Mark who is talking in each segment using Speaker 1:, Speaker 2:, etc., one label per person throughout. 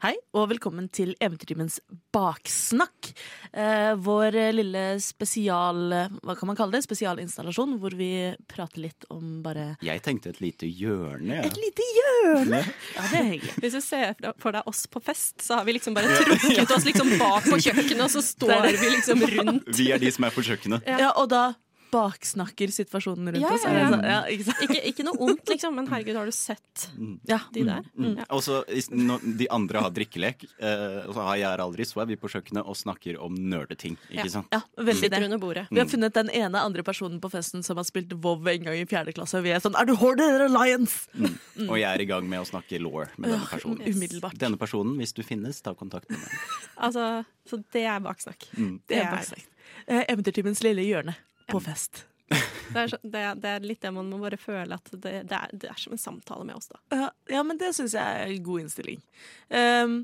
Speaker 1: Hei, og velkommen til Eventyrtimens baksnakk. Eh, vår eh, lille spesial... Hva kan man kalle det? Spesialinstallasjon, hvor vi prater litt om bare
Speaker 2: Jeg tenkte et lite hjørne.
Speaker 1: Et lite hjørne! Ja, det er hyggelig.
Speaker 3: Hvis du ser for deg oss på fest, så har vi liksom bare trukket oss liksom bak på kjøkkenet, og så står
Speaker 1: Der.
Speaker 3: vi liksom rundt.
Speaker 2: Vi er de som er på kjøkkenet.
Speaker 1: Ja. og da baksnakker situasjonen rundt
Speaker 3: Ja,
Speaker 1: oss.
Speaker 3: ja,
Speaker 1: Er det
Speaker 3: ja.
Speaker 1: sånn? ja, ikke sant?
Speaker 3: Ikke, ikke noe ondt, liksom, men herregud, har du sett
Speaker 1: Ja.
Speaker 3: de der?
Speaker 1: mm,
Speaker 3: Ja.
Speaker 2: Og så i s- når De andre har drikkelek, eh, og så har jeg aldri, så er vi på kjøkkenet og snakker om nerdeting.
Speaker 3: Ja.
Speaker 2: Ikke sant?
Speaker 1: ja, veldig
Speaker 3: Sitter
Speaker 1: det.
Speaker 3: under bordet.
Speaker 1: Vi har funnet den ene andre personen på festen som har spilt WoW en gang i fjerde klasse. Og vi er sånn Er du Horder eller Alliance?
Speaker 2: Mm. Og jeg er i gang med å snakke law med denne personen.
Speaker 1: Umiddelbart.
Speaker 2: Denne personen, hvis du finnes, ta kontakt med meg.
Speaker 3: Altså, så det er baksnakk.
Speaker 1: Det er
Speaker 3: baksnakk.
Speaker 1: baksnakk. Eh, Eventyrtimens lille hjørne på fest.
Speaker 3: Det er, så, det, er- det er litt det man må bare føle at det, det, er, det er som en samtale med oss, da.
Speaker 1: Ja, ja, men det syns jeg er en god innstilling. Ehm,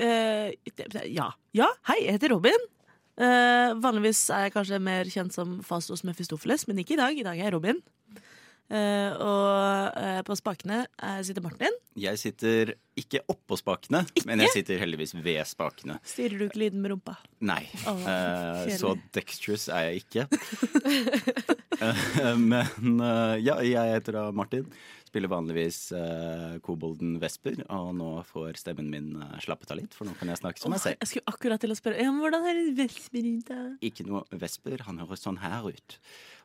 Speaker 1: eh, det- det- ja. ja, hei, jeg heter Robin. Eh, vanligvis er jeg kanskje mer kjent som Fastos Mefistofeles, men ikke i dag. I dag er jeg Robin. Eh, og eh, på spakene eh, sitter Martin.
Speaker 2: Jeg sitter ikke oppå spakene, men jeg sitter heldigvis ved spakene.
Speaker 1: Styrer du ikke lyden med rumpa?
Speaker 2: Nei.
Speaker 1: Åh,
Speaker 2: Eh,
Speaker 1: kjedelig.
Speaker 2: så dextrous er jeg ikke. Eh, Men eh, ja, jeg heter da Martin. Spiller vanligvis eh, kobolden Vesper, og nå får stemmen min eh, slappet av litt, for nå kan jeg snakke som meg
Speaker 1: Åh,
Speaker 2: selv.
Speaker 1: jeg skulle akkurat til å spørre ja, men hvordan er det vesper i dag?
Speaker 2: Ikke noe Vesper, han høres sånn her ut.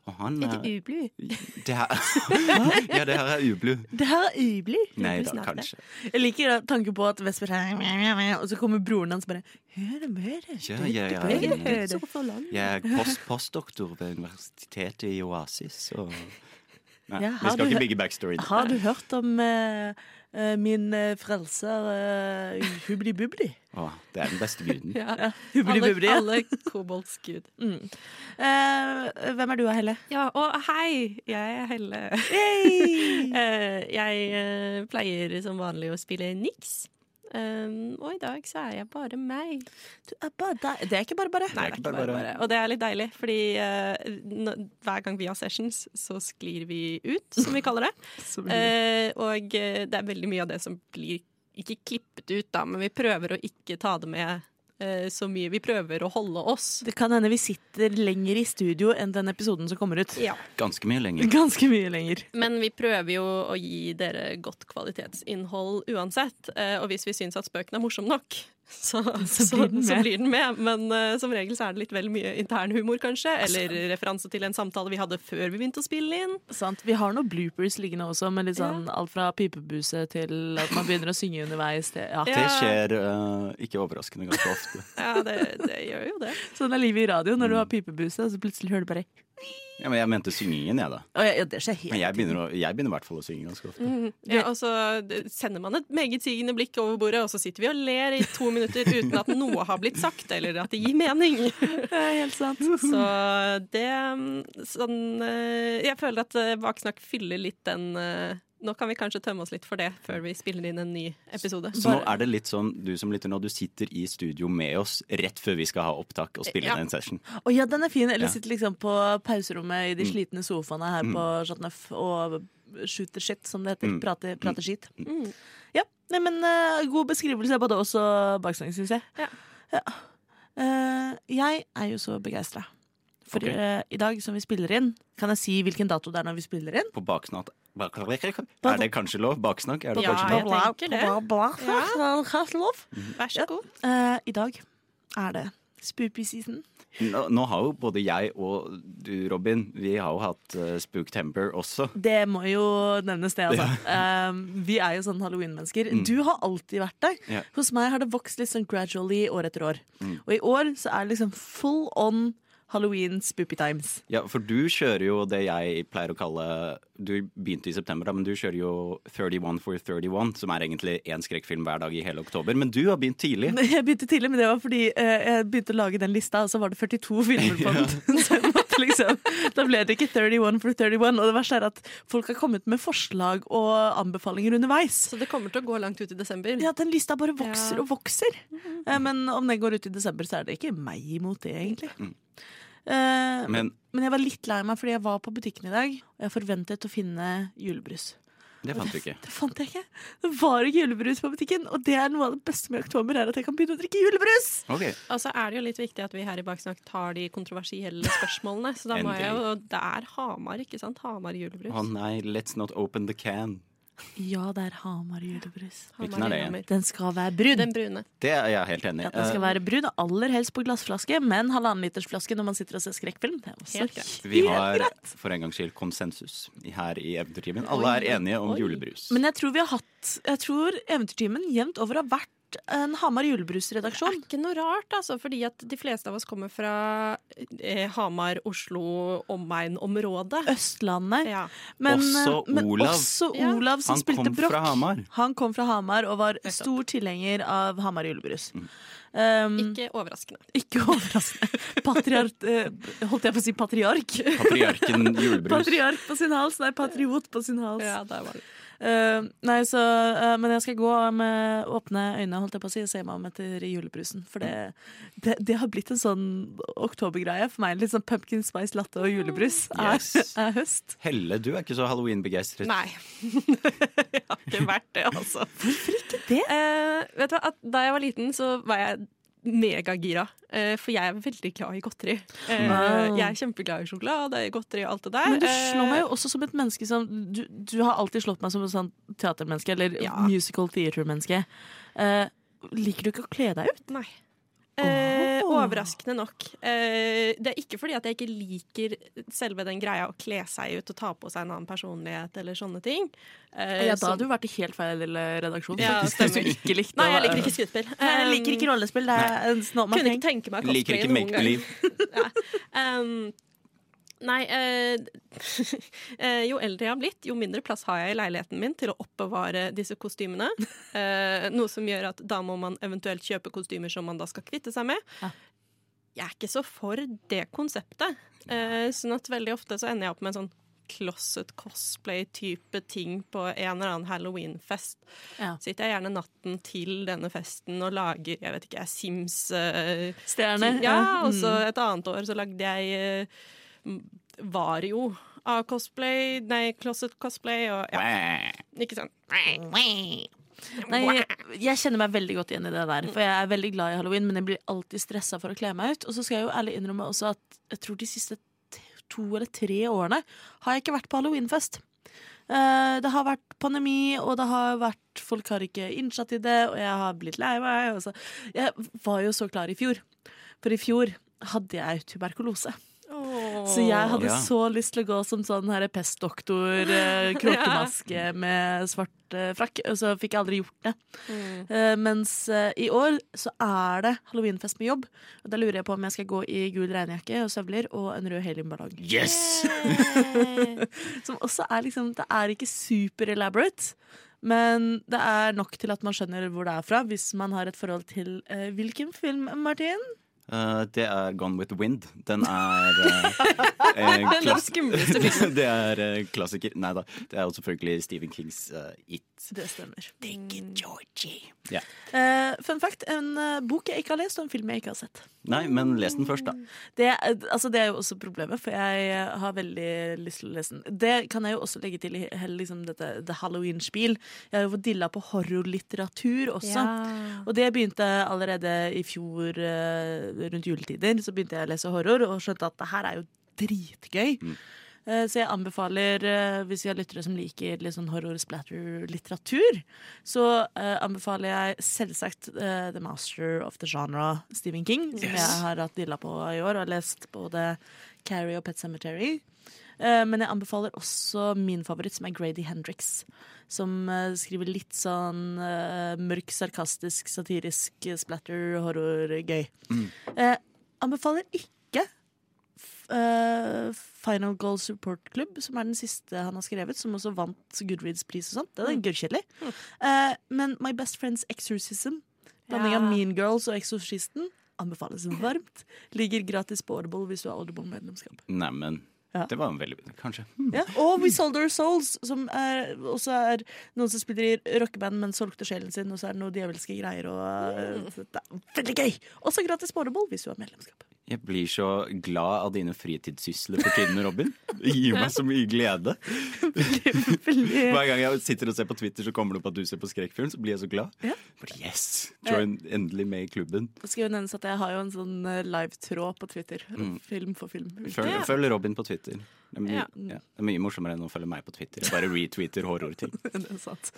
Speaker 2: Og han
Speaker 3: Ikke
Speaker 2: eh,
Speaker 3: ublu.
Speaker 2: det her, Ja, det her er ublu.
Speaker 1: Det her er øyeblikk.
Speaker 2: Nei da,
Speaker 3: snart, det.
Speaker 2: kanskje.
Speaker 1: Jeg liker da tanken på at vesper er Og så kommer broren hans bare Hør, hør,
Speaker 2: Ja, ja, ja.
Speaker 1: hør.
Speaker 3: Så forlang.
Speaker 2: Jeg er post postdoktor ved universitetet i Oasis, og Nei,
Speaker 1: Ja,
Speaker 2: vi
Speaker 1: har
Speaker 2: skal
Speaker 1: du hø-
Speaker 2: ikke bygge backstory.
Speaker 1: Har du hørt om eh, eh, min eh, frelser uh, Hubli Bubli?
Speaker 2: Å, det er den beste guden.
Speaker 3: Ja.
Speaker 1: Hubli
Speaker 3: Alle,
Speaker 1: Bubli, ja.
Speaker 3: alle kobolds gud.
Speaker 1: mm. Eh, hvem er du, Helle?
Speaker 3: Ja, og hei! Jeg er Helle.
Speaker 1: Yay!
Speaker 3: Eh, jeg eh, pleier som vanlig å spille niks. Um, og i dag så er jeg bare meg.
Speaker 1: Du er bare deg. Det er ikke bare bare.
Speaker 2: Nei, det er ikke bare bare.
Speaker 3: Og det er litt deilig, fordi eh, nå- hver gang vi har sessions, så sklir vi ut, som vi kaller det. Eh, og eh, det er veldig mye av det som blir ikke klippet ut, da, men vi prøver å ikke ta det med eh, så mye. Vi prøver å holde oss.
Speaker 1: Eh, Det kan hende vi sitter lenger i studio enn den episoden som kommer ut.
Speaker 3: Ja.
Speaker 2: Ganske mye lenger.
Speaker 1: Ganske mye lenger.
Speaker 3: Men vi prøver jo å gi dere godt kvalitetsinnhold uansett. eh, Og hvis vi syns at spøken er morsom nok, så, så, så,
Speaker 1: blir den med.
Speaker 3: blir, den med. Men eh, som regel så er det litt vel mye internhumor, kanskje. Eller referanse til en samtale vi hadde før vi begynte å spille inn.
Speaker 1: Sant? Vi har noen bloopers liggende også, med litt sånn alt fra pipebuse til at man begynner å synge underveis. Det, ja.
Speaker 2: Det
Speaker 3: Ja.
Speaker 2: skjer eh, ikke overraskende ganske ofte.
Speaker 3: Ja, det, det gjør jo det.
Speaker 1: Sånn er livet i radio når du har pipebuse, og så plutselig hører du bare
Speaker 2: Ja, men jeg mente syngingen, jeg, da.
Speaker 1: Å, ja, ja, det skjer helt
Speaker 2: Men jeg begynner, å, jeg begynner i hvert fall å synge ganske ofte.
Speaker 3: Ja, og så sender man et megetsigende blikk over bordet, og så sitter vi og ler i to minutter uten at noe har blitt sagt, eller at det gir mening.
Speaker 1: Det er helt sant.
Speaker 3: Så det mm, sånn eh, Jeg føler at eh, Baksnakk fyller litt den eh, Nå kan vi kanskje tømme oss litt for det før vi spiller inn en ny episode.
Speaker 2: Så nå er det litt sånn, du som lytter nå, du sitter i studio med oss rett før vi skal ha opptak og spille
Speaker 3: Ja.
Speaker 2: inn en session.
Speaker 1: Å ja, den er fin. Eller
Speaker 2: Ja. Mm.
Speaker 1: sitter liksom på pauserommet i de slitne sofaene her på Chat Neuf og shooter shit, som det heter.
Speaker 2: Mm.
Speaker 1: Prater, prater skit.
Speaker 3: Mm.
Speaker 1: Ja, nei, men eh, god beskrivelse av både oss og baksangen, syns jeg.
Speaker 3: Ja.
Speaker 1: Ja. Eh, jeg er jo så begeistra. For
Speaker 2: Ok.
Speaker 1: eh, i dag som vi spiller inn, kan jeg si hvilken dato det er når vi spiller inn?
Speaker 2: På baksnakk bak- Er det kanskje lov? Baksnakk? Er det
Speaker 3: Ja,
Speaker 2: kanskje
Speaker 3: jeg
Speaker 2: lov?
Speaker 3: tenker det.
Speaker 1: Bla, bla, bla, bla, bla, bla.
Speaker 3: Vær så god.
Speaker 1: Eh, I dag er det spoopy season.
Speaker 2: Nå, nå har jo både jeg og du, Robin, vi har jo hatt eh, Spooktemper også.
Speaker 1: Det må jo nevnes, det. Altså. Um, vi er jo sånn halloween-mennesker. Du har alltid vært der.
Speaker 2: Ja.
Speaker 1: Hos meg har det vokst litt sånn gradually år etter år. Og i år så er det liksom full on halloween spoopy times.
Speaker 2: Ja, for du kjører jo det jeg pleier å kalle Du begynte i september, da, men du kjører jo 31 for 31, som er egentlig én skrekkfilm hver dag i hele oktober. Men du har begynt tidlig.
Speaker 1: Jeg begynte tidlig, men det var fordi eh, jeg begynte å lage den lista, og så var det 42 filmer på den. Så jeg måtte liksom, da ble det ikke 31 for 31. Og det verste er at folk har kommet med forslag og anbefalinger underveis.
Speaker 3: Så det kommer til å gå langt ut i desember.
Speaker 1: Ja, den lista bare vokser
Speaker 3: Ja.
Speaker 1: og vokser. Eh, Men om den går ut i desember, så er det ikke meg imot det, egentlig. Eh, men,
Speaker 2: Mm. Men
Speaker 1: jeg var litt lei meg fordi jeg var på butikken i dag, og jeg forventet å finne julebrus.
Speaker 2: Det fant du ikke.
Speaker 1: Det fant jeg ikke. Det var ikke julebrus på butikken, og det er noe av det beste med oktober, er at jeg kan begynne å drikke julebrus!
Speaker 2: Ok,
Speaker 3: Og så er det jo litt viktig at vi her i Baksnakk tar de kontroversielle spørsmålene. Så da må jeg jo Og det er Hamar, ikke sant? Hamar julebrus.
Speaker 2: Å nei, let's not open the can.
Speaker 1: Ja, det er Hamar julebrus.
Speaker 2: Hvilken er det
Speaker 3: Lillehammer.
Speaker 1: Den skal være brun.
Speaker 3: Den brune.
Speaker 2: Det er jeg helt enig i. Eh,
Speaker 1: Ja, den skal være brun, og aller helst på glassflaske, men halvannen liters flaske når man sitter og ser skrekkfilm. Det er også
Speaker 3: Helt greit.
Speaker 2: Vi har for en gangs skyld konsensus i- her i Eventyrtimen. Alle er enige om
Speaker 3: Oi.
Speaker 2: julebrus.
Speaker 1: Men jeg tror vi har hatt Jeg tror Eventyrtimen jevnt over har vært en Hamar
Speaker 3: Det er
Speaker 1: julebrusredaksjon.
Speaker 3: ikke noe rart, altså, fordi at de fleste av oss kommer fra eh, Hamar, Oslo, omegn-området.
Speaker 1: Østlandet.
Speaker 3: Ja.
Speaker 1: Men, eh,
Speaker 2: Også
Speaker 1: men
Speaker 2: Olav.
Speaker 1: også
Speaker 3: Ja.
Speaker 1: Olav som
Speaker 2: Han
Speaker 1: spilte
Speaker 2: kom fra
Speaker 1: brokk.
Speaker 2: Hamar.
Speaker 1: Han kom fra Hamar og var
Speaker 3: Nettopp.
Speaker 1: stor tilhenger av Hamar julebrus.
Speaker 2: Mm.
Speaker 1: Um,
Speaker 3: Ikke overraskende.
Speaker 1: Ikke overraskende. Patriark eh, Holdt jeg på å si patriark?
Speaker 2: Patriarken julebrus.
Speaker 1: Patriark på sin hals, nei, patriot på sin hals.
Speaker 3: Ja, der var det.
Speaker 1: Eh, nei, så, eh, men jeg skal gå med åpne øyne holdt jeg på å si, og se meg om etter julebrusen. For det, det, det har blitt en sånn oktobergreie for meg. Litt sånn pumpkin spice latte og julebrus er,
Speaker 2: Yes.
Speaker 1: er høst.
Speaker 2: Helle, du er ikke så halloween-begeistret.
Speaker 3: Nei. jeg har ikke vært det, altså.
Speaker 1: Det
Speaker 3: Eh, vet du hva, at Da jeg var liten, så var jeg megagira. Eh, for jeg er veldig glad i godteri. Eh,
Speaker 1: Wow.
Speaker 3: Jeg er kjempeglad i sjokolade, godteri og alt det der.
Speaker 1: Men du slår meg jo også som et menneske som Du, du har alltid slått meg som et sånn teatermenneske, eller
Speaker 3: Ja.
Speaker 1: musical theater-menneske. Eh, liker du ikke å kle deg ut?
Speaker 3: Nei. Eh,
Speaker 1: Åh.
Speaker 3: overraskende nok. Eh, det er ikke fordi at jeg ikke liker selve den greia å kle seg ut og ta på seg en annen personlighet eller sånne ting. Eh,
Speaker 1: Ja, da
Speaker 3: som-
Speaker 1: hadde du vært i helt feil redaksjon.
Speaker 3: Ja,
Speaker 1: faktisk, hvis du
Speaker 3: stemmer.
Speaker 1: ikke likte
Speaker 3: Nei, jeg
Speaker 1: å-
Speaker 3: liker ikke skuespill.
Speaker 1: Nei, jeg liker ikke rollespill. Det er en
Speaker 3: Um, Kunne ikke
Speaker 1: snåmann.
Speaker 3: tenke meg
Speaker 2: Liker
Speaker 3: cosplay
Speaker 2: ikke
Speaker 3: noen
Speaker 2: make
Speaker 3: gang.
Speaker 2: believe.
Speaker 3: Um, nei eh, eh, Jo eldre jeg har blitt, jo mindre plass har jeg i leiligheten min til å oppbevare disse kostymene. Eh, noe som gjør at da må man eventuelt kjøpe kostymer som man da skal kvitte seg med.
Speaker 1: Ja.
Speaker 3: Jeg er ikke så for det konseptet. Eh, sånn at veldig ofte så ender jeg opp med en sånn Closet cosplay-type ting på en eller annen halloweenfest.
Speaker 1: Ja.
Speaker 3: Sitter jeg gjerne natten til denne festen og lager jeg vet ikke, Sims eh,
Speaker 1: Stjerne.
Speaker 3: ja, og så
Speaker 1: mm.
Speaker 3: et annet år så lagde jeg uh, Vario av cosplay, nei, Closet cosplay og ja, ikke sant.
Speaker 1: Nei, jeg- jeg kjenner meg veldig godt igjen i det der. For jeg er veldig glad i halloween, men jeg blir alltid stressa for å kle meg ut. Og så skal jeg jo ærlig innrømme også at jeg tror de siste t- to eller tre årene har jeg ikke vært på halloweenfest. Eh, Det har vært pandemi, og det har vært folk har ikke innsatt i det, og jeg har blitt lei meg. Og så. Jeg var jo så klar i fjor, for i fjor hadde jeg tuberkulose. Så jeg hadde
Speaker 2: Ja.
Speaker 1: så lyst til å gå som sånn her pestdoktor, eh, kråkemaske med svart eh, frakk, og så fikk jeg aldri gjort det.
Speaker 3: Mm.
Speaker 1: Eh, mens eh, i år så er det halloweenfest med jobb, og da lurer jeg på om jeg skal gå i gul regnjakke og støvler og en rød heliumballong.
Speaker 2: Yes!
Speaker 1: Som også er liksom Det er ikke super elaborate, men det er nok til at man skjønner hvor det er fra, hvis man har et forhold til eh, hvilken film, Martin?
Speaker 2: Eh, det er Gone with the Wind. Den er eh, en
Speaker 3: Den
Speaker 2: klass-
Speaker 3: skumleste
Speaker 2: det er eh, klassiker. Nei da, det er jo selvfølgelig Stephen Kings eh, It.
Speaker 1: Det stemmer.
Speaker 2: Georgie. Ja.
Speaker 1: Eh, fun fact, en eh, bok jeg ikke har lest, og en film jeg ikke har sett.
Speaker 2: Nei, men les den først, da.
Speaker 1: Det, er- altså det er jo også problemet, for jeg har veldig lyst til å lese den. Det kan jeg jo også legge til i he- liksom dette The Halloween-spill. Jeg har jo fått dilla på horrorlitteratur også. Og det begynte allerede i fjor, eh, rundt juletider. Så begynte jeg å lese horror og skjønte at det her er jo dritgøy. Eh, Så jeg anbefaler, eh, hvis vi har lyttere som liker litt sånn horror-splatter-litteratur, så eh, anbefaler jeg selvsagt eh, The Master of the Genre, Stephen King, som
Speaker 2: Yes.
Speaker 1: jeg har hatt dilla på i år og har lest både Carrie og Pet Cemetery. Eh, Men jeg anbefaler også min favoritt, som er Grady Hendrix. Som eh, skriver litt sånn eh, mørk, sarkastisk, satirisk, eh, splatter, horror, gøy. Eh, anbefaler ikke f- eh, Final Goal Support Club, som er den siste han har skrevet, som også vant Goodreads-pris og sånt. Den er gørrkjedelig. Eh, men My Best Friends Exorcism, blanding av
Speaker 3: Ja.
Speaker 1: Mean Girls og Eksorsisten, anbefales varmt. Ligger gratis på Audible hvis du har Audible-medlemskap.
Speaker 2: Neimen,
Speaker 1: Ja.
Speaker 2: det var en veldig Kanskje. Hmm.
Speaker 1: Ja, og We Sold Our Souls, som er, også er noen som spiller i rockeband, men solgte sjelen sin, og eh, så er det noe djevelske greier. Og, det er veldig gøy! Også gratis på Audible hvis du har medlemskap.
Speaker 2: Jeg blir så glad av dine fritidssysler for tiden, Robin. Det gir meg så mye glede. Hver gang jeg sitter og ser på Twitter, så kommer det opp at du ser på Skrekkfilm, så blir jeg så glad.
Speaker 1: Ja.
Speaker 2: Bare yes! Join endelig med i klubben.
Speaker 1: Det skal jo nevnes at jeg har jo en sånn eh, live-tråd på Twitter. Film for film.
Speaker 2: Mm. Følg,
Speaker 3: Det-
Speaker 2: følg Robin på Twitter. Det er, mye,
Speaker 3: Ja.
Speaker 2: ja. det er mye morsommere enn å følge meg på Twitter. Jeg bare retweeter horrorting.
Speaker 1: Det er sant.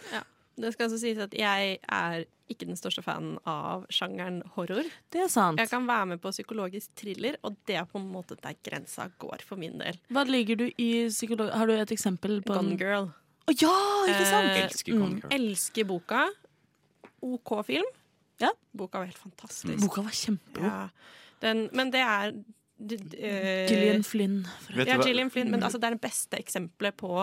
Speaker 3: Det skal altså sies at jeg er ikke den største fanen av sjangeren horror.
Speaker 1: Det er sant.
Speaker 3: Jeg kan være med på psykologisk thriller, og det er på en måte der grensa går for min del.
Speaker 1: Hva ligger du i psykolog... Har du et eksempel på
Speaker 3: Gone Girl.
Speaker 1: Å ja, ikke sant?
Speaker 3: Eh,
Speaker 2: Elsker Con Girl.
Speaker 3: elsker boka. OK film.
Speaker 1: Ja.
Speaker 3: Boka var helt
Speaker 2: Mm.
Speaker 3: fantastisk.
Speaker 1: Boka var kjempegod.
Speaker 3: Ja. Den, men det er d- d- eh,
Speaker 1: Gillian Flynn. for-
Speaker 2: Vet du
Speaker 3: Ja,
Speaker 2: hva- Mm.
Speaker 3: Gillian Flynn. Men altså, det er det beste eksempelet på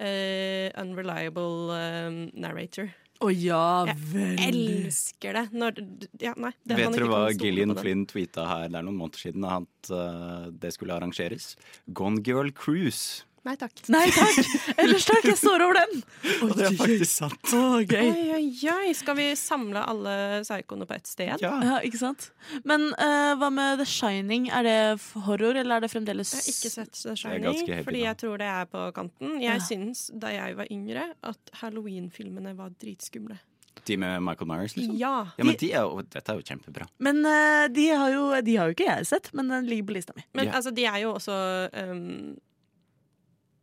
Speaker 3: eh, unreliable eh, narrator.
Speaker 1: Å ja,
Speaker 3: Jeg
Speaker 1: veldig.
Speaker 3: Elsker det! Når, d- ja, nei, det man
Speaker 2: Vet dere
Speaker 3: ikke
Speaker 2: hva
Speaker 3: kan stole
Speaker 2: Gillian
Speaker 3: på den.
Speaker 2: Flynn tweeta her det er noen måneder siden? At eh, det skulle arrangeres. Gone Girl Cruise.
Speaker 3: Nei takk.
Speaker 1: Nei takk! Ellers takk, jeg står over den!
Speaker 2: Og det er faktisk sant!
Speaker 1: Å, gøy.
Speaker 3: Oi, oi, oi. Skal vi samle alle psykoene på ett sted?
Speaker 2: Ja.
Speaker 1: Ja, ikke sant? Men eh, hva med The Shining? Er det f- horror, eller er det fremdeles
Speaker 3: Jeg har ikke sett The
Speaker 2: er
Speaker 3: Shining,
Speaker 2: ganske heavy,
Speaker 3: fordi
Speaker 2: da.
Speaker 3: jeg tror det er på kanten. Jeg
Speaker 1: Ja.
Speaker 3: syns, da jeg var yngre, at halloween-filmene var dritskumle.
Speaker 2: De med Michael Myers, liksom.
Speaker 3: Ja.
Speaker 2: Ja, men de er jo, Dette er jo kjempebra.
Speaker 1: Men eh, de, har jo, de har jo ikke jeg sett, men den ligger på lista mi.
Speaker 3: Men
Speaker 2: Ja.
Speaker 3: altså, de er jo også um,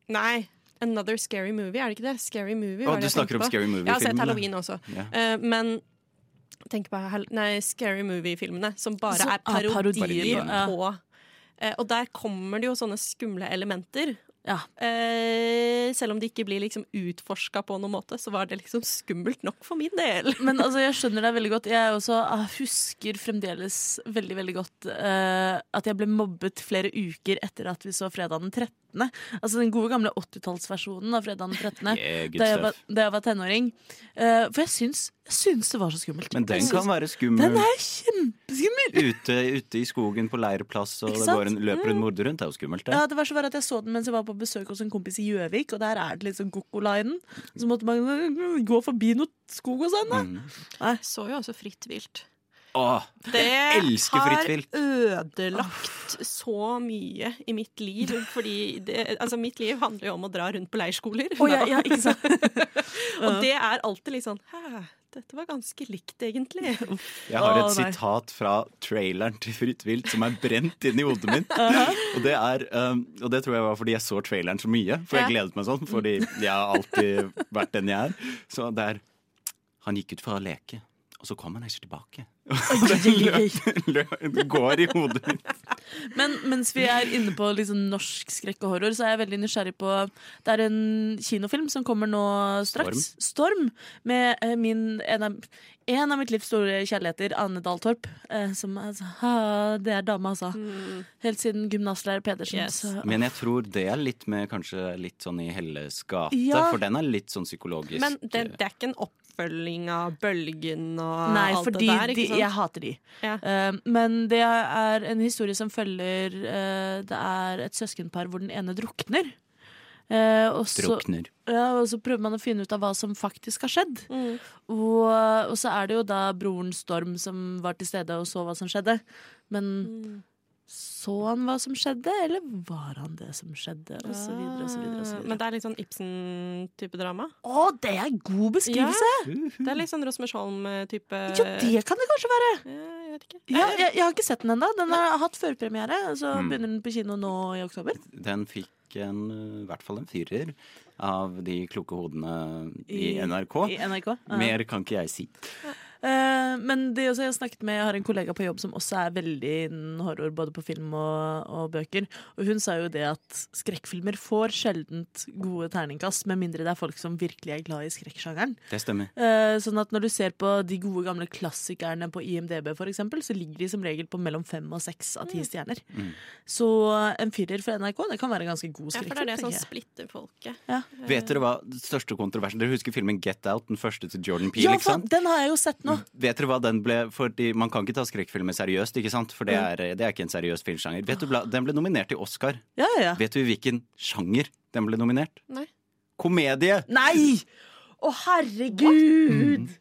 Speaker 3: Nei, Another Scary Movie, er det ikke det? Scary Movie
Speaker 2: Å,
Speaker 3: var det
Speaker 2: du
Speaker 3: jeg tenkte
Speaker 2: snakker om
Speaker 3: på. altså,
Speaker 2: Scary
Speaker 3: Jeg har sett
Speaker 2: Movie-filmene.
Speaker 3: Halloween også.
Speaker 2: Ja.
Speaker 3: Eh, men tenk på hal- nei, Scary Movie-filmene, som bare
Speaker 1: Som
Speaker 3: er
Speaker 1: er parodier,
Speaker 3: parodier
Speaker 1: ja.
Speaker 3: på eh, Og der kommer det jo sånne skumle elementer.
Speaker 1: Ja.
Speaker 3: Eh, selv om det ikke blir liksom utforska på noen måte, så var det liksom skummelt nok for min del.
Speaker 1: Men altså, jeg skjønner deg veldig godt. Jeg også ah, husker fremdeles veldig veldig godt eh, at jeg ble mobbet flere uker etter at vi så Fredag den 13. Altså den gode gamle 80-tallsversjonen av Fredag den 13.
Speaker 2: Yeah, good
Speaker 1: da, jeg var,
Speaker 2: stuff.
Speaker 1: da jeg var tenåring. Eh, for jeg syns, jeg syns det var så skummelt.
Speaker 2: Men
Speaker 1: Jeg
Speaker 2: den
Speaker 1: syns-
Speaker 2: kan være skummel.
Speaker 1: Den er kjempeskummel!
Speaker 2: Ute, ute i skogen på leirplass, og
Speaker 1: Ikke
Speaker 2: det
Speaker 1: sant?
Speaker 2: går en, løper en morder rundt. Det er jo skummelt, det.
Speaker 1: Ja, det var så verre at Jeg så den mens jeg var på besøk hos en kompis i Gjøvik, og der er det liksom Gokkolinen. Så måtte man gå forbi noe skog og sånn. da
Speaker 2: Mm.
Speaker 3: Så jo også Fritt vilt.
Speaker 2: Åh,
Speaker 3: Det
Speaker 2: elsker Fritt vilt.
Speaker 3: har ødelagt så mye i mitt liv. Fordi det, altså mitt liv handler jo om å dra rundt på leirskoler.
Speaker 1: Å, ja, ja, ikke sant?
Speaker 3: Og det er alltid litt sånn Hæ, dette var ganske likt, egentlig.
Speaker 2: jeg har et
Speaker 1: Å, nei.
Speaker 2: sitat fra traileren til Fritt vilt som er brent inn i hodet mitt. Og det er, um, og det tror jeg var fordi jeg så traileren så mye. For jeg gledet meg sånn, fordi jeg har alltid vært den jeg er. Så det er Han gikk ut for å leke, og så kom han ikke tilbake. Det går i hodet mitt.
Speaker 1: Men mens vi er inne på liksom norsk skrekk og horror, så er jeg veldig nysgjerrig på Det er en kinofilm som kommer nå straks. Storm. med eh, min, en, av, en av mitt livs store kjærligheter, Ane Dahl Torp. eh, som altså, ha, Det er dame, altså. Helt siden gymnaslærer Pedersen.
Speaker 3: Mm. Yes.
Speaker 1: Så,
Speaker 2: Men jeg tror det er litt med kanskje litt sånn i Helles gate,
Speaker 1: Ja.
Speaker 2: for den er litt sånn psykologisk.
Speaker 3: Men det, det er ikke en oppfølging av Bølgen og
Speaker 1: Nei,
Speaker 3: alt
Speaker 1: fordi
Speaker 3: det der,
Speaker 1: de,
Speaker 3: ikke sant?
Speaker 1: jeg hater de.
Speaker 3: Ja.
Speaker 1: Eh, men det er en historie som følger eh, Det er et søskenpar hvor den ene drukner. Eh, og så,
Speaker 2: Drukner.
Speaker 1: ja, og så prøver man å finne ut av hva som faktisk har skjedd.
Speaker 3: Mm.
Speaker 1: Og, og så er det jo da broren Storm som var til stede og så hva som skjedde. Men så han hva som skjedde, eller var han det som skjedde? Og så videre og så videre. Og så
Speaker 3: Ah, Men
Speaker 1: videre.
Speaker 3: det er litt sånn Ibsen-type drama.
Speaker 1: Å, det er god beskrivelse!
Speaker 3: Det er litt sånn Rosmersholm-type
Speaker 1: Jo, det kan det kanskje være!
Speaker 3: Ja, Jeg vet ikke.
Speaker 1: Ja, jeg, jeg har ikke sett den ennå. Den har hatt førpremiere, og så begynner den på kino nå i oktober.
Speaker 2: Den fikk en, eh, i hvert fall en firer av de kloke hodene i NRK.
Speaker 1: I NRK. ja.
Speaker 2: Mer kan ikke jeg si.
Speaker 1: Eh, men det også jeg har snakket med Jeg har en kollega på jobb som også er veldig innen horror, både på film og, og bøker. Og hun sa jo det at skrekkfilmer får sjeldent gode terningkast, med mindre det er folk som virkelig er glad i skrekksjangeren.
Speaker 2: Det stemmer.
Speaker 1: Eh, sånn at når du ser på de gode gamle klassikerne på IMDb, for eksempel, så ligger de som regel på mellom fem og seks av ti stjerner. Så eh, en firer fra NRK, det kan være en ganske god
Speaker 3: Ja, for det er
Speaker 1: skrekkfilm.
Speaker 3: det
Speaker 1: tenker
Speaker 3: som
Speaker 1: jeg.
Speaker 3: splitter folket.
Speaker 2: Vet dere hva den største kontroversen Dere husker filmen Get Out, den første til Jordan Peele?
Speaker 1: Ja,
Speaker 2: ikke
Speaker 3: liksom.
Speaker 1: faen,
Speaker 2: sant?
Speaker 1: den har jeg jo sett nå.
Speaker 2: Vet dere hva den ble Fordi Man kan ikke ta skrekkfilmer seriøst, ikke sant? For det er, det er ikke en seriøs filmsjanger. Vet du, bla- den ble nominert til Oscar.
Speaker 1: Ja, ja, ja.
Speaker 2: Vet du i hvilken sjanger den ble nominert?
Speaker 3: Nei.
Speaker 2: Komedie!
Speaker 1: Nei! Å, herregud! Mm.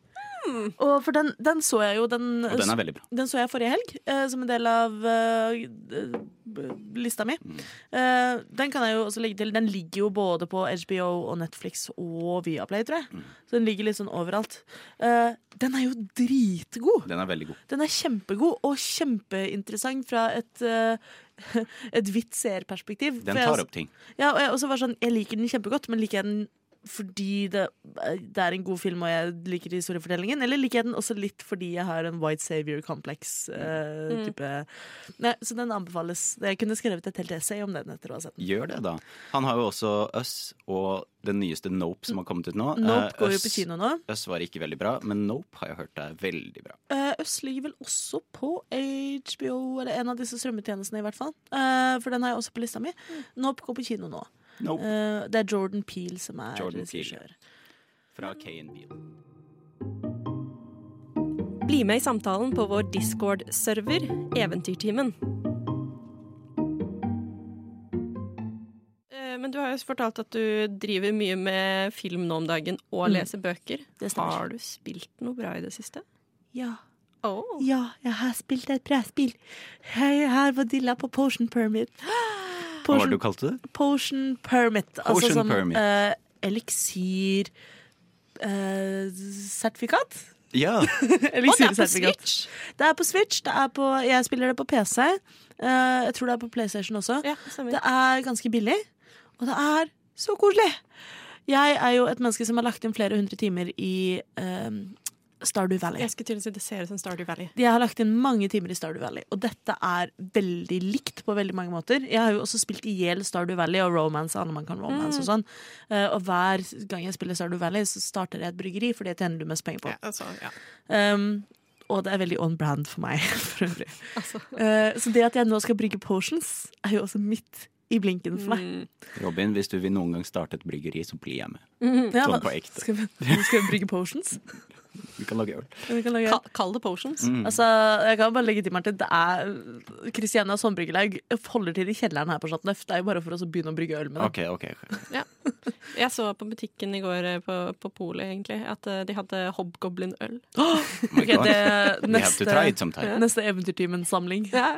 Speaker 1: Og for den, den så jeg jo den,
Speaker 2: Mm. Og den er veldig bra.
Speaker 1: den så jeg forrige helg, eh, som en del av eh, b- lista mi.
Speaker 2: Mm.
Speaker 1: Eh, den kan jeg jo også legge til. Den ligger jo både på HBO og Netflix og Viaplay, tror
Speaker 2: Mm.
Speaker 1: jeg. Så den ligger litt sånn overalt. Eh, den er jo dritgod!
Speaker 2: Den er veldig god.
Speaker 1: Den er kjempegod og kjempeinteressant fra et uh, et vidt seerperspektiv.
Speaker 2: Den tar opp ting.
Speaker 1: Ja, og jeg også var sånn, jeg liker den kjempegodt, men liker jeg den fordi det, eh, det er en god film og jeg liker historiefortellingen? Eller liker jeg den også litt fordi jeg har en white savior complex? eh,
Speaker 3: Mm.
Speaker 1: type Nei, Så den anbefales. Jeg kunne skrevet et helt essay om den etter å ha sett den.
Speaker 2: Gjør det, da. Han har jo også Us og den nyeste Nope som har kommet ut nå.
Speaker 1: Nope
Speaker 2: Eh,
Speaker 1: går jo
Speaker 2: Us-
Speaker 1: på kino nå.
Speaker 2: Us var ikke veldig bra, men Nope har jeg hørt er veldig bra.
Speaker 1: Uh, Øst ligger vel også på HBO, eller en av disse strømmetjenestene i hvert fall. Eh, for den har jeg også på lista mi. Nope går på kino nå.
Speaker 2: Nope
Speaker 1: Eh, det er Jordan Peel som er
Speaker 2: Jordan Peele.
Speaker 1: regissør.
Speaker 2: fra KNB.
Speaker 3: Bli med i samtalen på vår Discord-server, Eventyrtimen. Eh, Men du har jo fortalt at du driver mye med film nå om dagen, og
Speaker 1: Mm.
Speaker 3: leser bøker.
Speaker 1: Det stemmer.
Speaker 3: Har du spilt noe bra i det siste?
Speaker 1: Ja.
Speaker 3: Oh.
Speaker 1: Ja, jeg har spilt et brettspill. Jeg har vadilla på Potion Permit.
Speaker 2: Hva var
Speaker 1: Potion,
Speaker 2: det du kalte det?
Speaker 1: potion Permit. altså
Speaker 2: Potion
Speaker 1: som
Speaker 2: Permit.
Speaker 1: eh, eliksir eh, sertifikat?
Speaker 2: Ja,
Speaker 3: Og det er på
Speaker 1: Eliksirsertifikat.
Speaker 3: Switch!
Speaker 1: Det er på Switch. Det er på, jeg spiller det på PC. Eh, jeg tror det er på PlayStation også.
Speaker 3: Ja, stemmer.
Speaker 1: Det er ganske billig, og det er så koselig. Jeg er jo et menneske som har lagt inn flere hundre timer i eh, Stardew Valley.
Speaker 3: Jeg skulle til å si det ser ut som Stardew Valley.
Speaker 1: Jeg har lagt inn mange timer i Stardew Valley, og dette er veldig likt på veldig mange måter. Jeg har jo også spilt i hjel Stardew Valley og romance alle man kan romance
Speaker 3: Mm.
Speaker 1: og sånn. Eh, og hver gang jeg spiller Stardew Valley, så starter jeg et bryggeri, for det tjener du mest penger på.
Speaker 3: Ja, altså, ja.
Speaker 1: Um, og det er veldig on brand for meg, for øvrig.
Speaker 3: Altså.
Speaker 1: Eh, så det at jeg nå skal brygge potions, er jo også midt i blinken for meg.
Speaker 2: Robin, hvis du vil noen gang starte et bryggeri, så blir jeg med.
Speaker 3: Mm.
Speaker 1: Ja,
Speaker 2: sånn
Speaker 1: hva-
Speaker 2: på ekte.
Speaker 1: Skal vi, skal vi brygge potions?
Speaker 2: Vi kan lage øl.
Speaker 1: Vi kan lage-
Speaker 3: Ka kall det potions.
Speaker 2: Mm.
Speaker 1: Altså, jeg kan bare legge til, Martin, det er Kristianias håndbryggelag holder til i kjelleren her på Chateauneuf. Det er jo bare for oss å begynne å brygge øl med det.
Speaker 2: Ok, ok. ok.
Speaker 3: Jeg så på butikken i går, eh, på, på polet egentlig, at eh, de hadde hobgoblin-øl.
Speaker 2: Oh my
Speaker 1: Ok,
Speaker 2: God.
Speaker 1: det
Speaker 2: We have to
Speaker 1: neste,
Speaker 2: try it sometime.
Speaker 1: neste Eventyrtimen-samling.
Speaker 3: Ja.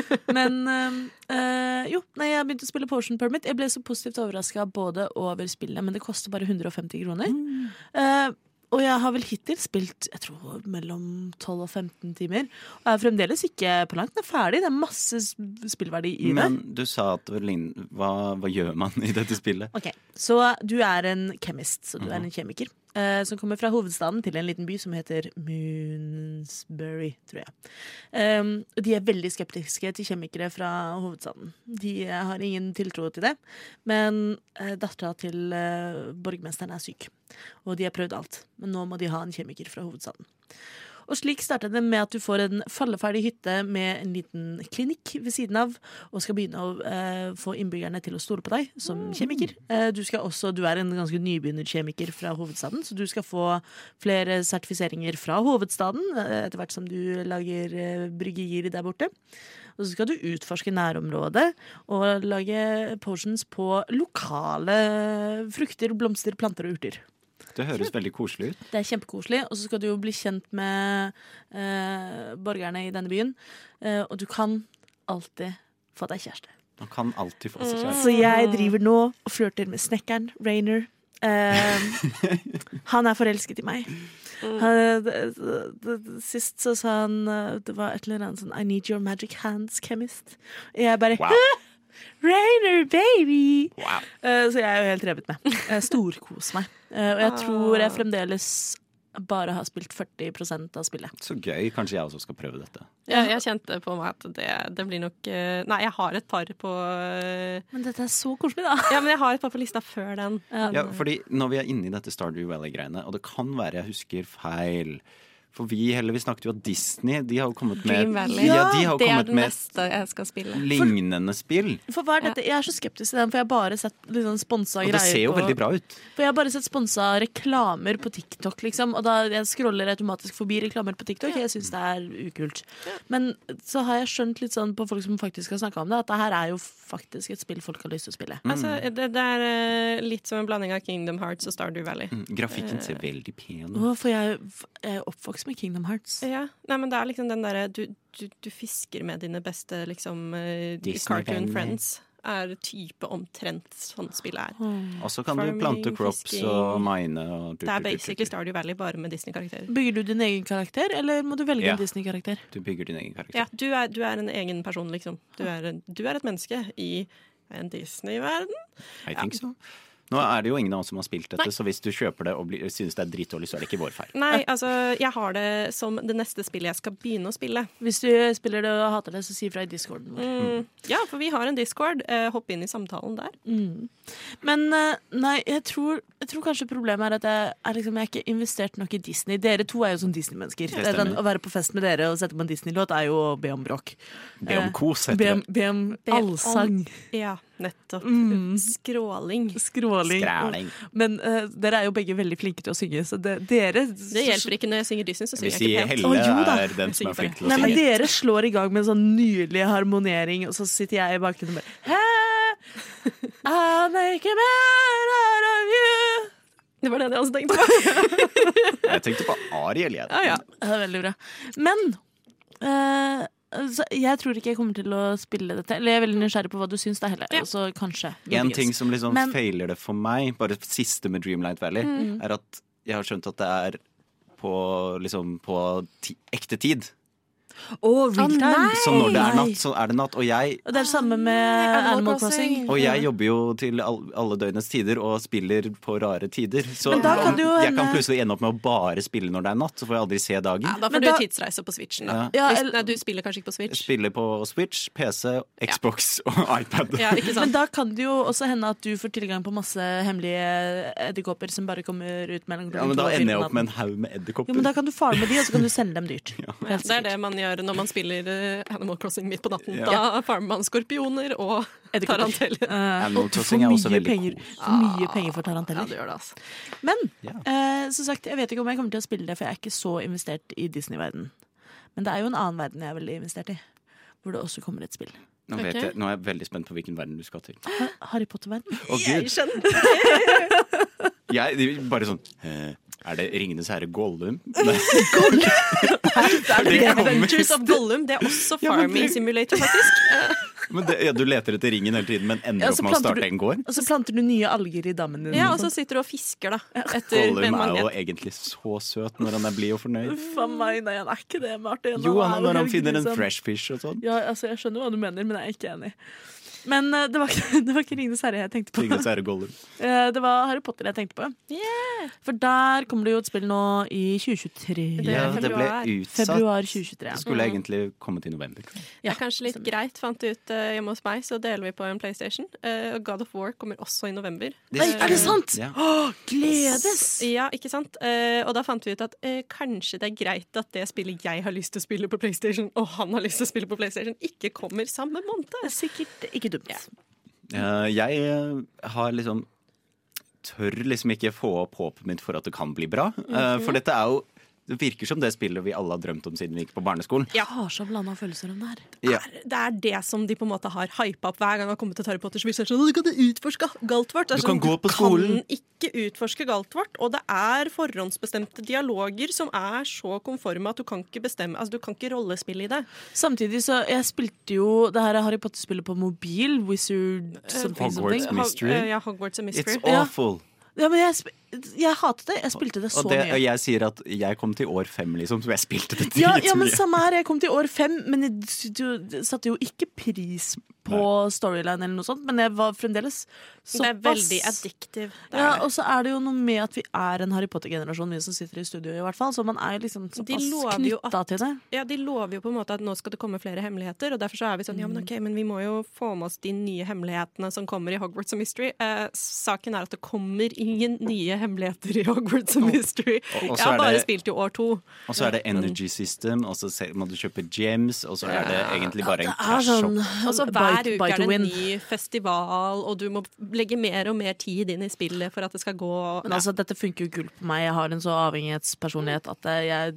Speaker 1: Men eh, eh, jo, nei, jeg begynte å spille Portion Permit. Jeg ble så positivt overraska både over spillet, men det koster bare 150 kroner.
Speaker 2: Mm.
Speaker 1: Eh, og jeg har vel hittil spilt jeg tror, mellom 12 og 15 timer. Og jeg er fremdeles ikke på langt nær ferdig. Det er masse s- spillverdi i det.
Speaker 2: Men du sa at det lign- hva, hva gjør man i dette spillet?
Speaker 1: Ok, Så du er en chemist, så du er en kjemiker, eh, som kommer fra hovedstaden til en liten by som heter Moonsbury, tror jeg. Um, og de er veldig skeptiske til kjemikere fra hovedstaden. De eh, har ingen tiltro til det, men uh, dattera til eh, borgmesteren er syk, og de har prøvd alt. Men nå må de ha en kjemiker fra hovedstaden. Og slik startet det med at du får en falleferdig hytte med en liten klinikk ved siden av, og skal begynne å eh, få innbyggerne til å stole på deg som kjemiker. Eh, du, skal også, du er en ganske nybegynnerkjemiker fra hovedstaden, så du skal få flere sertifiseringer fra hovedstaden eh, etter hvert som du lager eh, bryggerier der borte. Og så skal du utforske nærområdet og lage potions på lokale frukter, blomster, planter og urter.
Speaker 2: Det høres veldig koselig ut.
Speaker 1: Det er kjempekoselig, og så skal du jo bli kjent med eh, borgerne i denne byen. Eh, og du kan alltid få deg kjæreste.
Speaker 2: Man kan alltid få seg kjæreste.
Speaker 1: Så jeg driver nå og flørter med snekkeren, Rainer. Eh, han er forelsket i meg. Han, d- d- d- sist så sa han eh, Det var et eller annet sånn I need your magic hands, chemist. Og jeg bare
Speaker 2: Wow.
Speaker 1: Rainer, baby!
Speaker 2: wow.
Speaker 1: Eh, Så jeg er jo helt revet med. Jeg Storkos meg. Eh, Og jeg tror jeg fremdeles bare har spilt 40 av spillet.
Speaker 2: Så gøy. Kanskje jeg også skal prøve dette.
Speaker 3: Ja, jeg kjente på meg at det, det blir nok eh, Nei, jeg har et par på eh,
Speaker 1: Men dette er så koselig, da.
Speaker 3: Ja, men jeg har et par på lista før den.
Speaker 2: Ja, fordi når vi er inne i dette Stardew Valley-greiene, og det kan være jeg husker feil For vi heller, vi snakket jo om Disney. De har jo kommet med,
Speaker 3: Dream Valley.
Speaker 2: ja, de har jo
Speaker 3: det er
Speaker 2: kommet
Speaker 3: det
Speaker 2: med
Speaker 3: neste jeg skal spille.
Speaker 2: lignende spill.
Speaker 1: For hva er dette? Jeg er så skeptisk til den, for jeg har bare sett litt sånn sponsa
Speaker 2: Og det ser
Speaker 1: greier.
Speaker 2: jo veldig
Speaker 1: På,
Speaker 2: bra ut.
Speaker 1: for jeg har bare sett sponsa reklamer på TikTok, liksom. Og da jeg scroller automatisk forbi reklamer på TikTok. Jeg syns det er ukult. Men så har jeg skjønt litt sånn på folk som faktisk har snakka om det, at det her er jo faktisk et spill folk har lyst til å spille.
Speaker 3: Altså, det, det er eh, litt som en blanding av Kingdom Hearts og Stardew
Speaker 2: Mm.
Speaker 3: Valley.
Speaker 2: Grafikken
Speaker 1: Eh.
Speaker 2: ser veldig pen ut.
Speaker 1: Å, for jeg jeg er oppvokst med Kingdom Hearts.
Speaker 3: Ja, Nei, men det er liksom den derre du, du, du fisker med dine beste liksom eh,
Speaker 2: Disney-venner.
Speaker 3: cartoon friends. Er type omtrent sånn spillet er.
Speaker 2: Og så kan du
Speaker 3: Farming,
Speaker 2: plante crops
Speaker 3: fisking.
Speaker 2: og mine. Og du,
Speaker 3: Det er
Speaker 2: du- du- du-
Speaker 3: basically Stardew Valley bare med
Speaker 2: Mm.
Speaker 3: Disney-karakterer.
Speaker 1: Bygger du din egen karakter, eller må du velge
Speaker 2: Ja.
Speaker 1: en Disney-karakter?
Speaker 2: Du bygger din egen karakter.
Speaker 3: Ja, du er, du er en egen person, liksom. Du er, en- du er et menneske i en Disney-verden.
Speaker 2: I think so. Nå er det jo ingen av oss som har spilt dette, så hvis du kjøper det og blir, synes det er dritdårlig, så er det ikke vår feil.
Speaker 3: Nei, altså, jeg har det som det neste spillet jeg skal begynne å spille.
Speaker 1: Hvis du spiller det og hater det, så si fra i discorden vår.
Speaker 3: Mm. Ja, for vi har en Discord. Eh, hopp inn i samtalen der.
Speaker 1: Men eh, nei, jeg tror, jeg tror kanskje problemet er at jeg, er liksom, jeg er ikke investert nok i Disney. Dere to er jo sånn Disney-mennesker.
Speaker 2: Det stemmer.
Speaker 1: Den- Å være på fest med dere og sette på en Disney-låt er jo å be om bråk.
Speaker 2: Be om
Speaker 1: Eh,
Speaker 2: kos, heter
Speaker 1: Be
Speaker 2: det.
Speaker 1: om, be om
Speaker 3: Be om-
Speaker 1: allsang.
Speaker 3: Ja, nettopp. Skråling.
Speaker 1: Skråling.
Speaker 2: Skræling.
Speaker 1: Men eh, dere er jo begge veldig flinke til å synge, så det, dere
Speaker 3: Det hjelper ikke når jeg synger Disney, så
Speaker 2: Vi
Speaker 3: synger jeg
Speaker 2: sier
Speaker 3: ikke pent.
Speaker 1: Å,
Speaker 2: Helle
Speaker 1: jo da.
Speaker 2: er den som er
Speaker 3: Jeg synger bare.
Speaker 2: flink til å
Speaker 1: Nei, men
Speaker 2: synge.
Speaker 1: Dere slår i gang med en sånn nydelig harmonering, og så sitter jeg i bakgrunnen og bare Hæ? I'll make a man out of you.
Speaker 3: Det var det jeg også tenkte på.
Speaker 2: Jeg tenkte på Ariel, jeg.
Speaker 3: Ja, ja.
Speaker 1: Det er veldig bra. Men eh, så jeg tror ikke jeg kommer til å spille dette. Eller jeg er veldig nysgjerrig på hva du syns, da heller.
Speaker 3: Ja.
Speaker 1: Så kanskje.
Speaker 2: En
Speaker 1: muligens.
Speaker 2: ting som liksom
Speaker 1: Men-
Speaker 2: feiler det for meg, bare siste med Dreamlight Valley,
Speaker 3: Mm.
Speaker 2: er at jeg har skjønt at det er på, liksom, på ti ekte tid.
Speaker 1: Å, real
Speaker 3: Å,
Speaker 1: time.
Speaker 3: nei!
Speaker 2: Så når det er
Speaker 1: Nei.
Speaker 2: natt, så er det natt. Og jeg,
Speaker 1: Og det er det samme med
Speaker 3: Animal
Speaker 1: Animal
Speaker 3: Crossing.
Speaker 1: Crossing.
Speaker 2: og jeg jobber jo til all, alle døgnets tider og spiller på rare tider. Så
Speaker 1: Men da kan
Speaker 2: om-
Speaker 1: det jo
Speaker 2: jeg kan
Speaker 1: hende-
Speaker 2: plutselig ende opp med å bare spille når det er natt, så får jeg aldri se dagen.
Speaker 3: Ja, da får
Speaker 1: Men
Speaker 3: du
Speaker 1: da-
Speaker 3: tidsreise på Switchen, da.
Speaker 2: Ja.
Speaker 1: Ja,
Speaker 3: Hvis-
Speaker 1: eller-
Speaker 3: Nei, du spiller kanskje ikke på Switch.
Speaker 2: Spiller på Switch, PC, Xbox og iPad.
Speaker 3: Ja, ikke
Speaker 1: Men
Speaker 3: sant?
Speaker 1: da kan det jo også hende at du får tilgang på masse hemmelige edderkopper som bare kommer ut mellom
Speaker 2: Ja, men Da ender jeg opp med en haug med
Speaker 1: Jo, men
Speaker 2: edderkopper.
Speaker 1: da kan du farme de, og så kan du selge dem dyrt.
Speaker 3: Ja, det er det man gjør når man spiller eh, Animal Crossing midt på natten.
Speaker 2: Ja.
Speaker 3: Da farmer man skorpioner og taranteller.
Speaker 1: Eh,
Speaker 2: Animal
Speaker 1: og du får
Speaker 2: Crossing er også
Speaker 1: mye
Speaker 2: veldig
Speaker 1: penger,
Speaker 2: cool.
Speaker 1: for mye penger for
Speaker 3: Ja,
Speaker 1: taranteller.
Speaker 3: det gjør det, altså.
Speaker 1: Men
Speaker 2: Ja.
Speaker 1: eh, som sagt, jeg vet ikke om jeg kommer til å spille det, for jeg er ikke så investert i Disney-verden. Men det er jo en annen verden jeg er veldig investert i, hvor det også kommer et spill.
Speaker 2: Nå, vet
Speaker 3: Ok.
Speaker 2: jeg, nå er jeg veldig spent på hvilken verden du skal til.
Speaker 1: Harry Potter-verden.
Speaker 2: Å, Gud.
Speaker 3: skjønner.
Speaker 2: Jeg bare sånn eh, Er det Ringenes herre Gollum? Nei. Det kommer.
Speaker 3: Adventures of Gollum. Det er også
Speaker 2: Ja, men
Speaker 3: Farming
Speaker 2: det-
Speaker 3: Simulator, faktisk.
Speaker 2: Men det, ja, du leter etter ringen hele tiden, men ender
Speaker 1: Ja,
Speaker 2: opp
Speaker 1: så
Speaker 2: med å
Speaker 1: planter
Speaker 2: starte
Speaker 1: du-
Speaker 2: en gård?
Speaker 1: Og så planter du nye alger i dammen din.
Speaker 3: Ja, og så sitter du og fisker, da. Etter med
Speaker 2: Gollum er jo
Speaker 3: magnet.
Speaker 2: egentlig så søt når han er blid og fornøyd.
Speaker 1: Uff a meg, nei, han er ikke det, Martin.
Speaker 2: Jo, han
Speaker 1: er
Speaker 2: er når han
Speaker 1: jo
Speaker 2: finner en
Speaker 1: grusom.
Speaker 2: fresh fish og sånn.
Speaker 1: Ja, altså, jeg skjønner hva du mener, men jeg er ikke enig. Men eh, det var ikke, det var ikke Ringenes herre jeg tenkte på.
Speaker 2: Ringenes herre Gollum.
Speaker 1: Eh, det var Harry Potter jeg tenkte på. For der kommer det jo et spill nå i 2023.
Speaker 3: Det er
Speaker 2: Ja, det ble
Speaker 3: februar.
Speaker 2: utsatt.
Speaker 1: Februar
Speaker 2: Det
Speaker 1: 2023.
Speaker 2: skulle egentlig kommet i november.
Speaker 3: Det er kanskje litt greit, fant jeg ut eh, hjemme hos meg, så deler vi på en PlayStation. Eh, Og God of War kommer også i november.
Speaker 1: Nei, er det sant?
Speaker 2: Ja.
Speaker 1: Åh, gledes!
Speaker 3: Ja, ikke sant? Eh, og da fant vi ut at eh, kanskje det er greit at det spillet jeg har lyst til å spille på PlayStation, og han har lyst til å spille på PlayStation, ikke kommer samme måned.
Speaker 1: Sikkert ikke dumt.
Speaker 2: Eh, jeg eh, har liksom Tør liksom ikke få opp håpet mitt for at det kan bli bra. Eh, For dette er jo Det virker som det spillet vi alle har drømt om siden vi gikk på barneskolen.
Speaker 1: Jeg har så blanda følelser om det her.
Speaker 2: Ja.
Speaker 3: Det er det som de på en måte har hypa opp hver gang det har kommet et Harry Potter-spill. så er det Sånn, du kan utforske Galtvort. Det er
Speaker 2: Du kan
Speaker 3: sånn,
Speaker 2: gå på skolen.
Speaker 3: Du kan ikke utforske Galtvort, og det er forhåndsbestemte dialoger som er så konforme at du kan ikke bestemme Altså, du kan ikke rollespille i det.
Speaker 1: Samtidig så Jeg spilte jo det her Harry Potter-spillet på mobil. Wizard something,
Speaker 2: Hogwarts.
Speaker 1: something.
Speaker 2: A mystery?
Speaker 3: Hog- eh, ja, Hogwarts a mystery.
Speaker 2: It's
Speaker 1: Ja.
Speaker 2: awful.
Speaker 1: Ja, men jeg, sp- jeg hatet det. Jeg spilte det så
Speaker 2: Og, det, og
Speaker 1: mye.
Speaker 2: jeg sier at jeg kom til år fem, liksom, så jeg spilte det
Speaker 1: Ja, ja,
Speaker 2: dritmye.
Speaker 1: men Samme her. Jeg kom til år fem, men jeg d- d- satte jo ikke pris på storyline eller noe sånt, men jeg var fremdeles
Speaker 3: Det er
Speaker 1: såpass
Speaker 3: veldig addictive. Det er
Speaker 1: ja,
Speaker 3: det.
Speaker 1: og så er det jo noe med at vi er en Harry Potter-generasjon, vi som sitter i studio, i hvert fall. Så man er jo liksom såpass
Speaker 3: lover jo
Speaker 1: knytta til det.
Speaker 3: ja, de lover jo på en måte at nå skal det komme flere hemmeligheter, og derfor så er vi sånn ja, men ok, men vi må jo få med oss de nye hemmelighetene som kommer i Hogwarts og Mystery. Eh, saken er at det kommer ingen nye hemmeligheter i Hogwarts og Mystery.
Speaker 2: Og- og så
Speaker 3: Jeg har
Speaker 2: er
Speaker 3: bare
Speaker 2: det-
Speaker 3: spilt i år to.
Speaker 2: Og så er det energy system, og så se- må du kjøpe gems, og så er det egentlig bare en
Speaker 1: Det er
Speaker 2: cash
Speaker 1: sånn
Speaker 2: shop.
Speaker 3: Og så
Speaker 1: bite-
Speaker 3: Altså, hver uke
Speaker 1: bite
Speaker 3: er det
Speaker 1: to
Speaker 3: en
Speaker 1: win.
Speaker 3: ny festival, og du må legge mer og mer tid inn i spillet for at det skal gå.
Speaker 1: Men altså, dette funker jo gull på meg. Jeg har en så avhengighetspersonlighet at eh, jeg,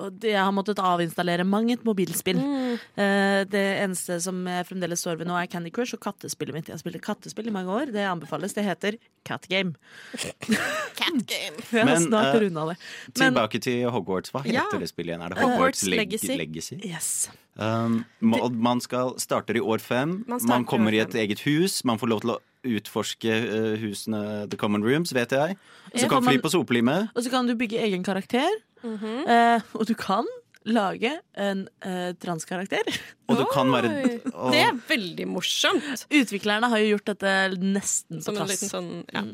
Speaker 1: og det- jeg har måttet avinstallere mang et mobilspill.
Speaker 3: Mm.
Speaker 1: Eh, Det eneste som jeg fremdeles står ved nå, er Candy Crush og kattespillet mitt. Jeg har spilt kattespill i mange år. Det anbefales. Det heter Cat Game. Jeg har
Speaker 2: Men,
Speaker 1: snart
Speaker 2: eh,
Speaker 1: runda det. Men
Speaker 2: Tilbake til Hogwarts. Hva heter
Speaker 3: Ja.
Speaker 2: det spillet igjen? Er det
Speaker 3: Hogwarts
Speaker 2: Hogwarts Leg-
Speaker 3: Legacy.
Speaker 2: Legacy?
Speaker 1: yes.
Speaker 2: Um, ma- og man skal, starter i år fem.
Speaker 3: Man
Speaker 2: Man,
Speaker 3: starter i år
Speaker 2: kommer i et
Speaker 3: fem.
Speaker 2: eget hus. Man får lov til å utforske eh, husene The Common Rooms, vet jeg.
Speaker 1: Ja.
Speaker 2: Så
Speaker 1: Får
Speaker 2: kan fly
Speaker 1: man-
Speaker 2: på sopelime.
Speaker 1: Og så kan du bygge egen karakter.
Speaker 3: Mhm.
Speaker 1: Eh, Og du kan lage en eh, transkarakter.
Speaker 2: Og du kan være
Speaker 3: Oi.
Speaker 2: og,
Speaker 3: altså, Det er veldig morsomt!
Speaker 1: Utviklerne har jo gjort dette nesten på
Speaker 3: Som en liten
Speaker 1: trass.
Speaker 3: sånn ja.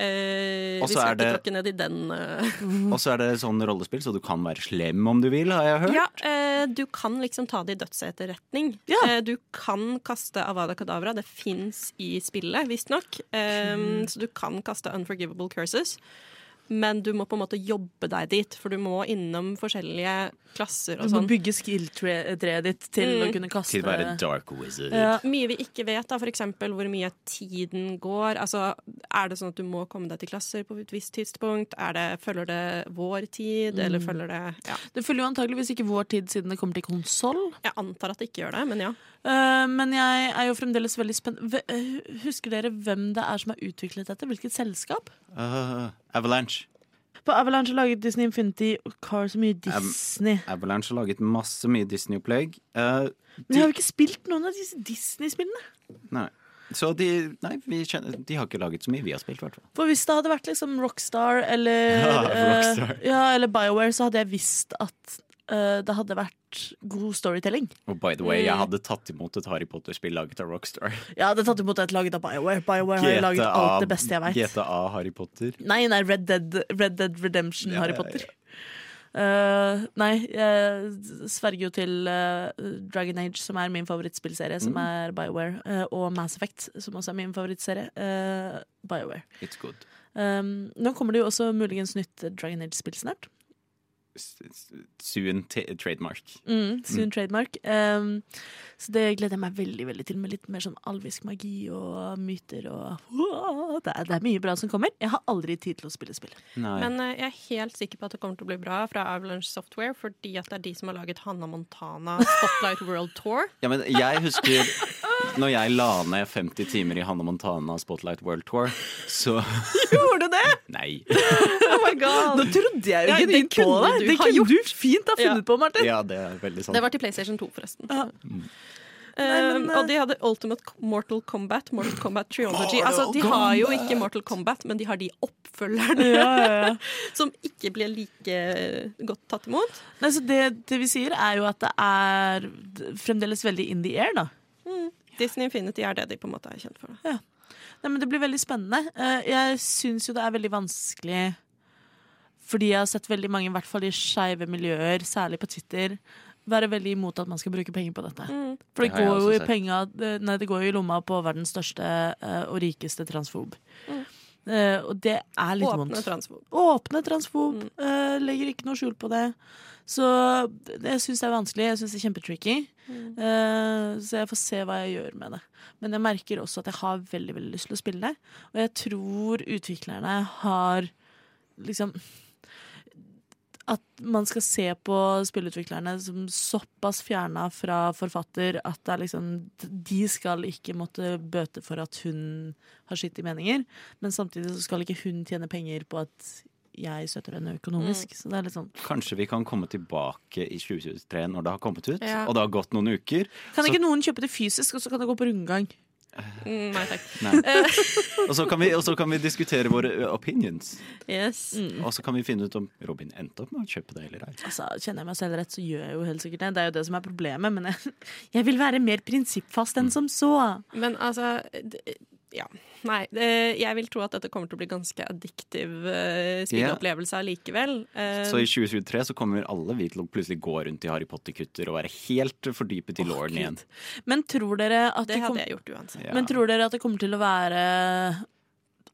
Speaker 3: Eh,
Speaker 2: Og
Speaker 3: vi
Speaker 2: så
Speaker 3: skal
Speaker 2: er
Speaker 3: ikke
Speaker 2: det-
Speaker 3: tråkke ned i den. eh.
Speaker 2: og så er det sånn rollespill, så du kan være slem om du vil, har jeg hørt.
Speaker 3: Ja, eh, du kan liksom ta det i dødsetterretning.
Speaker 1: Ja.
Speaker 3: Eh, du kan kaste Avada Kadavra. Det fins i spillet, visstnok.
Speaker 1: Hmm.
Speaker 3: Um, så du kan kaste Unforgivable Curses. Men du må på en måte jobbe deg dit, for du må innom forskjellige klasser
Speaker 1: Du
Speaker 3: og
Speaker 1: må
Speaker 3: sånn.
Speaker 1: bygge skill-treet ditt til å kunne kaste
Speaker 2: Til å være dark wizard.
Speaker 1: Ja.
Speaker 3: Mye vi ikke vet, da, f.eks. hvor mye tiden går. Altså, er det sånn at du må komme deg til klasser på et visst tidspunkt? Er det, følger det vår tid,
Speaker 1: Hmm.
Speaker 3: eller følger det ja.
Speaker 1: Det følger jo antageligvis ikke vår tid siden det kommer til konsoll.
Speaker 3: Jeg antar at det ikke gjør det, men ja.
Speaker 1: Eh, men jeg er jo fremdeles veldig spent Ve- eh, Husker dere hvem det er som har utviklet dette? Hvilket selskap?
Speaker 2: Uh, Avalanche.
Speaker 1: På Avalanche laget Disney Infinity og Car så mye Disney.
Speaker 2: Avalanche har laget masse mye Disney-opplegg. Eh,
Speaker 1: Men jeg har jo ikke spilt noen av disse Disney-spillene.
Speaker 2: nei. Så de Nei, vi kjenner, de har ikke laget så mye vi har spilt, i hvert fall.
Speaker 1: For hvis det hadde vært liksom Rockstar eller
Speaker 2: Ja,
Speaker 1: eh,
Speaker 2: Rockstar.
Speaker 1: ja, eller BioWare, så hadde jeg visst at eh, det hadde vært god storytelling.
Speaker 2: Og by the
Speaker 1: Eh.
Speaker 2: way, jeg hadde tatt imot et Harry Potter-spill laget av Rockstar.
Speaker 1: Jeg hadde tatt imot et laget av BioWare. BioWare har jo laget alt det beste jeg veit.
Speaker 2: GTA Harry Potter.
Speaker 1: Nei, nei, Red Dead, Red Dead Redemption,
Speaker 2: Ja,
Speaker 1: Harry
Speaker 2: ja, ja.
Speaker 1: Potter. Eh, nei, jeg sverger jo til eh, Dragon Age, som er min favorittspillserie,
Speaker 2: Mm.
Speaker 1: som er BioWare. eh, og Mass Effect, som også er min favorittserie. eh, BioWare.
Speaker 2: It's good.
Speaker 1: Um, nå kommer det jo også muligens nytt Dragon Age-spill snart.
Speaker 2: S- s- Soon t- trademark.
Speaker 1: Mm, soon trademark. Um, så det gleder jeg meg veldig veldig til, med litt mer sånn alvisk magi og myter og det, er, det er mye bra som kommer. Jeg har aldri tid til å spille spillet.
Speaker 2: Nei.
Speaker 3: Men eh, jeg er helt sikker på at det kommer til å bli bra fra Avalanche Software, fordi at det er de som har laget Hanna Montana Spotlight World Tour.
Speaker 2: Ja, men jeg husker når jeg la ned 50 timer i Hanne Montana Spotlight World Tour, så
Speaker 1: Gjorde du det?!
Speaker 2: Nei.
Speaker 3: Oh my god!
Speaker 1: Nå trodde jeg jo
Speaker 3: Ja,
Speaker 1: ikke
Speaker 3: det
Speaker 1: genuint på
Speaker 3: kunne
Speaker 1: deg.
Speaker 3: du
Speaker 1: Det
Speaker 3: ha
Speaker 1: kunne
Speaker 3: gjort.
Speaker 1: du fint ha funnet på, Martin.
Speaker 2: Ja, det er veldig sant.
Speaker 3: Det var til PlayStation 2, forresten.
Speaker 1: Ja.
Speaker 3: Eh,
Speaker 1: men, eh,
Speaker 3: og de hadde Ultimate K- Mortal Kombat, Mortal Kombat Triology. Altså, de har jo ikke Mortal Kombat, men de har de oppfølgerne som ikke blir like eh, godt tatt imot.
Speaker 1: Nei, så det, det vi sier, er jo at det er fremdeles veldig in the air, da.
Speaker 3: Disney Infinity er det de på en måte er kjent for. Da.
Speaker 1: Nei, men Det blir veldig spennende. Eh, Jeg syns jo det er veldig vanskelig fordi jeg har sett veldig mange, i hvert fall i skeive miljøer, særlig på Twitter, være veldig imot at man skal bruke penger på dette. For det
Speaker 2: Det har
Speaker 1: går,
Speaker 2: jeg
Speaker 1: jo
Speaker 2: også
Speaker 1: i
Speaker 2: sett.
Speaker 1: penga, nei, det går jo i lomma på verdens største eh, og rikeste transfob. Eh, og det er litt vondt.
Speaker 3: Åpne transfob.
Speaker 1: Åpne transfob. eh, legger ikke noe skjul på det. Så det- jeg syns det er vanskelig. Jeg syns det er kjempetricky. Eh, så jeg får se hva jeg gjør med det. Men jeg merker også at jeg har veldig veldig lyst til å spille det. Og jeg tror utviklerne har liksom At man skal se på spillutviklerne som såpass fjerna fra forfatter at det er liksom De skal ikke måtte bøte for at hun har skittige meninger. Men samtidig så skal ikke hun tjene penger på at jeg støtter henne økonomisk. Så det er litt sånn
Speaker 2: Kanskje vi kan komme tilbake i 2023 når det har kommet ut,
Speaker 3: Ja.
Speaker 2: og det har gått noen uker.
Speaker 1: Kan
Speaker 2: Så-
Speaker 1: ikke noen kjøpe det fysisk, og så kan det gå på rundgang?
Speaker 3: Mm, nei takk.
Speaker 2: Nei. Og så kan, vi- og så kan vi diskutere våre ø, opinions.
Speaker 3: Yes.
Speaker 2: Og så kan vi finne ut om Robin endte opp med å kjøpe det eller ei.
Speaker 1: Altså, Kjenner jeg meg selv rett, så gjør jeg jo helt sikkert det. Det er jo det som er problemet, men jeg, jeg vil være mer prinsippfast enn som så.
Speaker 3: Men altså d- Ja. Nei. det- Jeg vil tro at dette kommer til å bli ganske addiktiv uh, spilleopplevelse allikevel. Eh,
Speaker 2: Så i 2023 så kommer alle vi til å plutselig gå rundt i Harry Potter-kutter og være helt fordypet i lauren igjen.
Speaker 1: Men tror dere at
Speaker 3: det
Speaker 1: det,
Speaker 3: hadde
Speaker 1: kom,
Speaker 3: jeg gjort uansett.
Speaker 2: Ja.
Speaker 1: men tror dere at det kommer til å være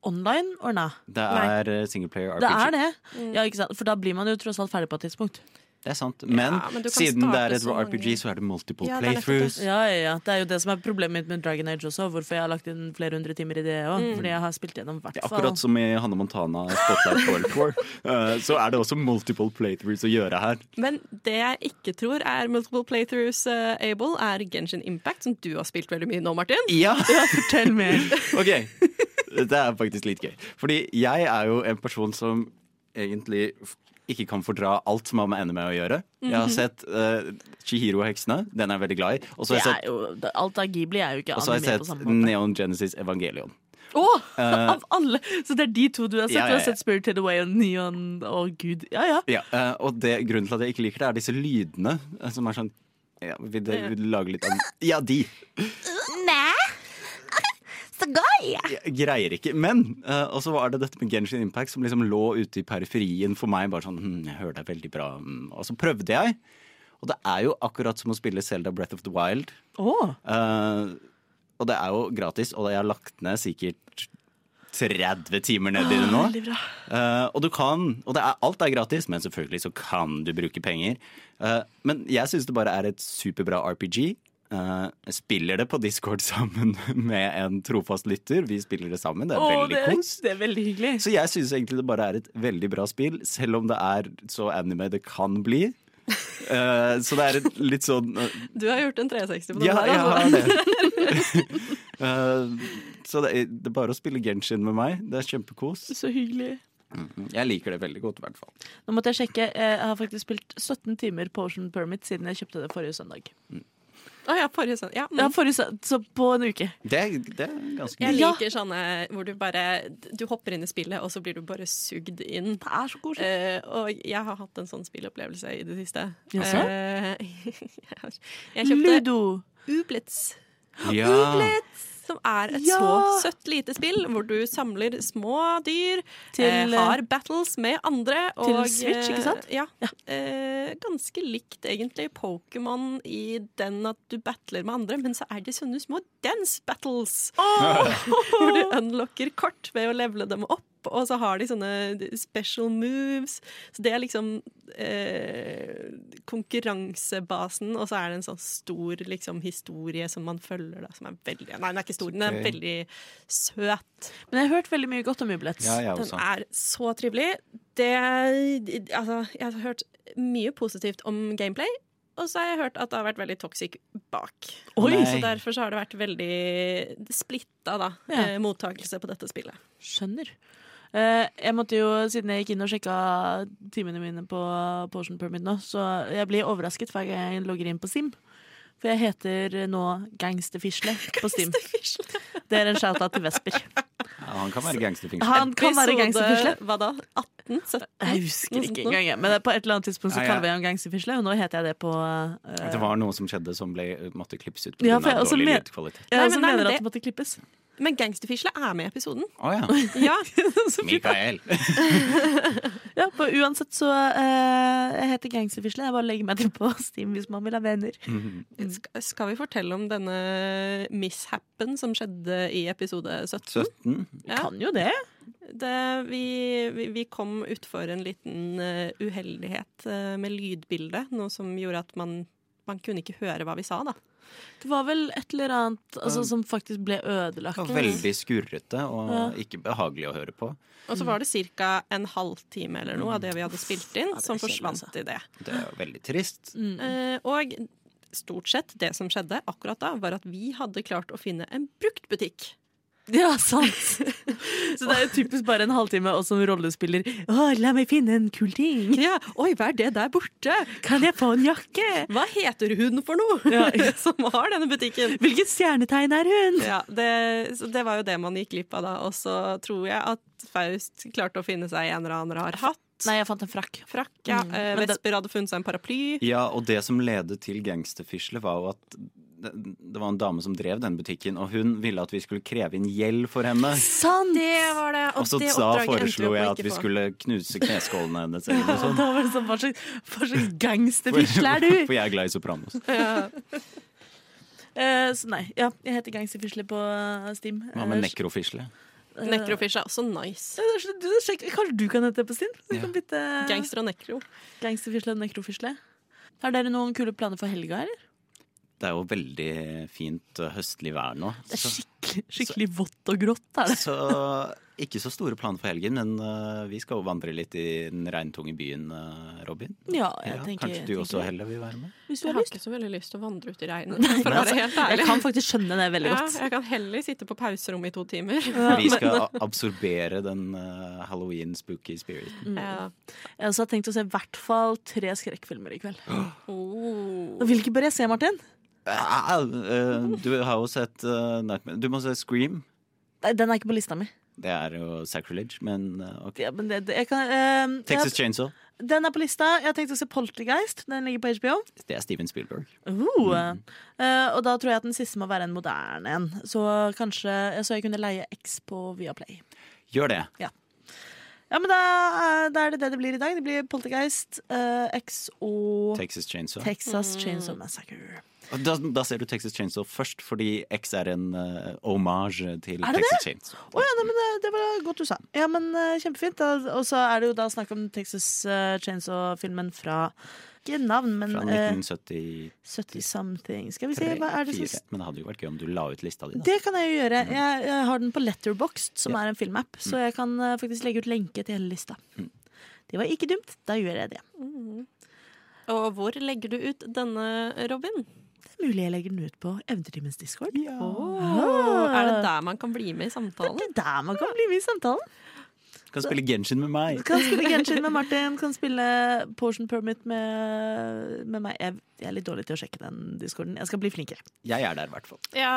Speaker 1: online or nei?
Speaker 2: Det er eh, singleplayer RPG.
Speaker 1: Det er det. Ja, ikke sant? For da blir man jo tross alt ferdig på et tidspunkt.
Speaker 2: Det er sant. Men,
Speaker 3: men du kan
Speaker 2: siden det
Speaker 3: starte
Speaker 2: er et
Speaker 3: så mange-
Speaker 2: RPG, så er det multiple
Speaker 3: Ja, det er nettopp
Speaker 2: playthroughs.
Speaker 1: Ja, ja, ja. Det er jo det som er problemet mitt med Dragon Age også, hvorfor jeg har lagt inn flere hundre timer i det òg. Fordi jeg har spilt gjennom hvert
Speaker 2: Det er
Speaker 1: fall
Speaker 2: Akkurat som i Hanne Montana Spotlight World Tour, eh, så er det også multiple playthroughs å gjøre her.
Speaker 3: Men det jeg ikke tror er multiple playthroughs, eh, Able, er Genshin Impact, som du har spilt veldig mye nå, Martin.
Speaker 2: Ja,
Speaker 1: Fortell mer.
Speaker 2: ok Dette er faktisk litt gøy Fordi jeg er jo en person som egentlig f- ikke kan fordra alt som har med anime å gjøre Jeg
Speaker 3: Mhm.
Speaker 2: har sett eh, Chihiro-heksene, den er jeg veldig glad i Og så
Speaker 1: Det
Speaker 2: har jeg
Speaker 1: er
Speaker 2: sett,
Speaker 1: jo, det- alt av Ghibli er jo ikke
Speaker 2: sånn- og så har
Speaker 1: anime
Speaker 2: jeg
Speaker 1: på samme
Speaker 2: sett
Speaker 1: måte.
Speaker 2: Neon Genesis Evangelion
Speaker 1: Å! av alle! Så det er de to du har sett?
Speaker 2: Eh, Ja, ja,
Speaker 1: Du
Speaker 2: ja.
Speaker 1: har sett Spirited Away og Neon og Gud. Ja, ja.
Speaker 2: Ja, eh, og det, grunnen til at jeg ikke liker det, er disse lydene eh, som er sånn ja, vil dere lage litt av Ja, de! Jeg greier ikke. Men! eh, og så var det dette med Genshin Impact som liksom lå ute i periferien for meg. Bare sånn hm, Jeg hører deg veldig bra. mm. Og så prøvde jeg. Og det er jo akkurat som å spille Selda Breath of the Wild.
Speaker 1: Å.
Speaker 2: Eh, og det er jo gratis, og jeg har lagt ned sikkert 30 timer ned i det nå.
Speaker 1: Ah, Veldig bra.
Speaker 2: Eh, og du kan, og det er, alt er gratis, men selvfølgelig så kan du bruke penger. Eh, men jeg syns det bare er et superbra RPG. Eh, jeg spiller det på Discord sammen med en trofast lytter. Vi spiller det sammen. Det er
Speaker 1: Å, det,
Speaker 2: veldig
Speaker 1: er,
Speaker 2: kos.
Speaker 1: det er veldig hyggelig.
Speaker 2: Så jeg syns egentlig det bare er et veldig bra spill, selv om det er så anime det kan bli. Eh, så det er et litt sånn eh,
Speaker 3: Du har gjort en 360 på den
Speaker 2: Ja,
Speaker 3: der.
Speaker 2: jeg
Speaker 3: altså.
Speaker 2: har det. Eh, så det er, det er bare å spille Genshin med meg. Det er kjempekos.
Speaker 1: Så hyggelig.
Speaker 2: Jeg liker det veldig godt, i hvert fall.
Speaker 1: Nå måtte jeg sjekke. Eh, Jeg har faktisk spilt 17 timer på Ocean Permit siden jeg kjøpte det forrige søndag.
Speaker 3: Å ja, forrige søndag. Ja, mm.
Speaker 1: Ja, forrige søndag, så på en uke.
Speaker 2: Det, det er ganske
Speaker 3: Jeg
Speaker 1: Ja.
Speaker 3: liker sånne hvor du bare Du hopper inn i spillet, og så blir du bare sugd inn.
Speaker 1: Det er så koselig.
Speaker 3: Eh, og jeg har hatt en sånn spillopplevelse i det siste.
Speaker 1: Jaså?
Speaker 3: Eh, jeg kjøpte
Speaker 1: Eh, Ludo.
Speaker 3: Ublitz,
Speaker 2: ja.
Speaker 3: som er et
Speaker 1: Ah. Ja!
Speaker 3: så søtt lite spill hvor du samler små dyr,
Speaker 1: Til,
Speaker 3: eh, har battles med andre.
Speaker 1: til
Speaker 3: og,
Speaker 1: Switch, ikke sant?
Speaker 3: eh, Ja. Eh, ganske likt, egentlig, Pokémon i den at du battler med andre, men så er de sånne små dance battles. Hvor du unlocker kort ved å levele dem opp, og så har de sånne special moves. Så det er liksom eh, konkurransebasen, og så er det en sånn stor liksom, historie som man følger, da, som er veldig Nei, den er ikke stor, den er
Speaker 2: Ok.
Speaker 3: veldig søt.
Speaker 1: Men jeg har hørt veldig mye godt om Ublets.
Speaker 2: Ja, jeg
Speaker 3: Den
Speaker 2: også.
Speaker 3: er så trivelig. Det Altså, jeg har hørt mye positivt om gameplay. Og så har jeg hørt at det har vært veldig toxic bak.
Speaker 2: Oi!
Speaker 3: Så derfor så har det vært veldig splitta, da,
Speaker 1: Ja.
Speaker 3: eh, mottakelse på dette spillet.
Speaker 1: Skjønner. Eh, jeg måtte jo, Siden jeg gikk inn og sjekka timene mine på Portion Permit nå, så jeg blir overrasket hver gang jeg logger inn på Steam. For jeg heter nå Gangsterfisle på Steam. Det er en shout-out til Vesper.
Speaker 2: Ja, han kan være gangsterfingers.
Speaker 1: Han kan være gangsterfisle.
Speaker 3: Hva da? 18? 17?
Speaker 1: Jeg husker ikke engang, jeg. Men på et eller annet tidspunkt så
Speaker 2: Ja, ja.
Speaker 1: kaller jeg ham gangsterfisle, og nå heter jeg det på eh,
Speaker 2: Det var noe som skjedde som ble, måtte klippes ut
Speaker 1: Ja,
Speaker 2: pga.
Speaker 1: for jeg
Speaker 2: av
Speaker 1: også
Speaker 2: dårlig
Speaker 1: men-
Speaker 2: lydkvalitet.
Speaker 1: Jeg
Speaker 3: Nei,
Speaker 1: også
Speaker 3: men nei, men
Speaker 1: mener
Speaker 3: det-
Speaker 1: at det måtte klippes.
Speaker 3: Men gangsterfisle er med i episoden.
Speaker 2: Å ja.
Speaker 3: Ja.
Speaker 2: Mikael.
Speaker 1: Ja, på, Uansett så eh, Jeg heter gangsterfisle. Jeg bare legger meg til på Steam hvis man vil ha venner.
Speaker 3: Sk- Skal vi fortelle om denne mishappen som skjedde i episode 17?
Speaker 2: 17.
Speaker 3: Ja.
Speaker 1: Kan jo det.
Speaker 3: Det, vi, vi, vi kom utfor en liten eh, uheldighet eh, med lydbildet, noe som gjorde at man, man kunne ikke høre hva vi sa, da.
Speaker 1: Det var vel et eller annet altså, som faktisk ble ødelagt.
Speaker 2: Og Um, Veldig skurrete og ikke behagelig å høre på.
Speaker 3: Og så
Speaker 1: Mm.
Speaker 3: var det ca. en halvtime eller noe av det vi hadde spilt inn,
Speaker 1: det er kjedelig, altså.
Speaker 3: som
Speaker 1: Mm.
Speaker 3: forsvant i det.
Speaker 2: Det er jo veldig trist.
Speaker 3: Eh, og stort sett det som skjedde akkurat da, var at vi hadde klart å finne en bruktbutikk
Speaker 1: Ja, sant. Så det er jo typisk bare en halvtime, og som rollespiller Å, la meg finne en kul ting.
Speaker 3: Ja, Oi, hva er det der borte?
Speaker 1: Kan jeg få en jakke?
Speaker 3: Hva heter hun for noe
Speaker 1: Ja.
Speaker 3: som har denne butikken?
Speaker 1: Hvilket stjernetegn er hun?
Speaker 3: Ja, det, så det var jo det man gikk glipp av da. Og så tror jeg at Faust klarte å finne seg en eller annen rar hatt.
Speaker 1: Nei, jeg fant en frakk.
Speaker 3: Frakk, ja.
Speaker 1: Mm.
Speaker 3: Eh,
Speaker 1: Men det-
Speaker 3: Vesper hadde funnet seg en paraply.
Speaker 2: Ja, og det som ledet til gangsterfisle var jo at det, det var en dame som drev den butikken, og hun ville at vi skulle kreve inn gjeld for henne.
Speaker 1: Sant!
Speaker 3: Det var det.
Speaker 2: Og så Altså, da foreslo jeg at vi skulle knuse kneskålene hennes. Eller noe
Speaker 1: Da
Speaker 2: sånt.
Speaker 1: var det sånn, Hva slags, hva slags gangsterfisle er
Speaker 2: For
Speaker 1: du?
Speaker 2: jeg er glad i Sopranos.
Speaker 1: Eh, så nei, ja, jeg heter gangsterfisle på eh, Steam.
Speaker 2: Hva med
Speaker 1: Eh,
Speaker 2: nekrofisle?
Speaker 1: eh,
Speaker 3: Nekrofish er også nice.
Speaker 1: Du, du, sjekk, kanskje du kan hete det på Steam? Du
Speaker 2: Ja.
Speaker 1: kan bytte
Speaker 3: Gangster og nekro.
Speaker 1: gangsterfisle og nekrofisle. Har dere noen kule planer for helga, eller?
Speaker 2: Det er jo veldig fint eh, høstlig vær nå.
Speaker 1: Det er
Speaker 2: Så,
Speaker 1: skikkelig, skikkelig vått og grått. Er det.
Speaker 2: så ikke så store planer for helgen, men eh, vi skal jo vandre litt i den regntunge byen, eh, Robin.
Speaker 1: Ja, jeg
Speaker 2: Ja,
Speaker 1: tenker,
Speaker 2: kanskje du
Speaker 1: tenker-
Speaker 2: også, Helle, vil være med?
Speaker 1: Hvis du har
Speaker 3: Jeg har
Speaker 1: lyst.
Speaker 3: ikke så veldig lyst til å vandre ut i regnet. For å
Speaker 1: Altså,
Speaker 3: være helt
Speaker 1: jeg
Speaker 3: ærlig.
Speaker 1: kan faktisk skjønne det veldig
Speaker 3: Ja,
Speaker 1: godt.
Speaker 3: jeg kan heller sitte på pauserommet i to timer.
Speaker 2: Vi skal a- absorbere den eh, halloween-spooky spiriten.
Speaker 1: Mm.
Speaker 3: Ja.
Speaker 1: Eh, Jeg også har tenkt å se i hvert fall tre skrekkfilmer i kveld.
Speaker 3: Oh.
Speaker 1: Og Hvilke bør jeg se, Martin?
Speaker 2: Ah, eh, du har jo sett eh, Nightmare Du må se Scream.
Speaker 1: Nei, Den er ikke på lista mi.
Speaker 2: Det er jo sacrilege, men eh, ok.
Speaker 1: Ja, men det, det, jeg kan, eh,
Speaker 2: Texas Chainsaw.
Speaker 1: jeg, den er på lista. Jeg har tenkt å se Poltergeist. Den ligger på HBO.
Speaker 2: Det er Steven Spielberg.
Speaker 1: Uh, eh, og da tror jeg at den siste må være en moderne en. Så kanskje eh, Så jeg kunne leie X på Viaplay.
Speaker 2: Gjør det.
Speaker 1: Ja, men da, eh, da er det det det blir i dag. Det blir Poltergeist, eh, X og
Speaker 2: Texas Chainsaw.
Speaker 1: Texas
Speaker 2: Mm.
Speaker 1: Chainsaw Massacre.
Speaker 2: Og Da, da ser du Texas Chainsaw først, fordi X er en uh, homage til
Speaker 1: Er det
Speaker 2: Texas Chainsaw.
Speaker 1: Å ja, nei, men eh, det, det var godt du sa. Ja, men eh, Kjempefint. Da- Og så er det jo da snakk om Texas eh, Chainsaw-filmen fra Ikke navn, men
Speaker 2: Fra
Speaker 1: eh,
Speaker 2: 1973.
Speaker 1: 70 something. Skal vi se, hva er det som
Speaker 2: fire. Mm. Men det hadde jo vært gøy om du la ut lista di. Da.
Speaker 1: Det kan jeg jo gjøre. Jeg, jeg har den på Letterboxd, som er en filmapp.
Speaker 2: Mm.
Speaker 1: Så jeg kan eh, faktisk legge ut lenke til hele lista. Det var ikke dumt. Da gjør jeg det.
Speaker 3: Og hvor legger du ut denne, Robin?
Speaker 1: Det er mulig jeg legger den ut på Eventyrtimens discord.
Speaker 2: Ja.
Speaker 1: Ah.
Speaker 3: Er det der man kan bli med i
Speaker 1: Det
Speaker 3: samtalen?
Speaker 1: er der man kan bli med i samtalen.
Speaker 2: Kan spille Genshin med meg.
Speaker 1: Kan spille Genshin med Martin, kan spille Portion Permit med, med meg. Jeg, jeg er litt dårlig til å sjekke den discorden. Jeg skal bli flinkere.
Speaker 2: Jeg er der, i hvert fall.
Speaker 3: Ja,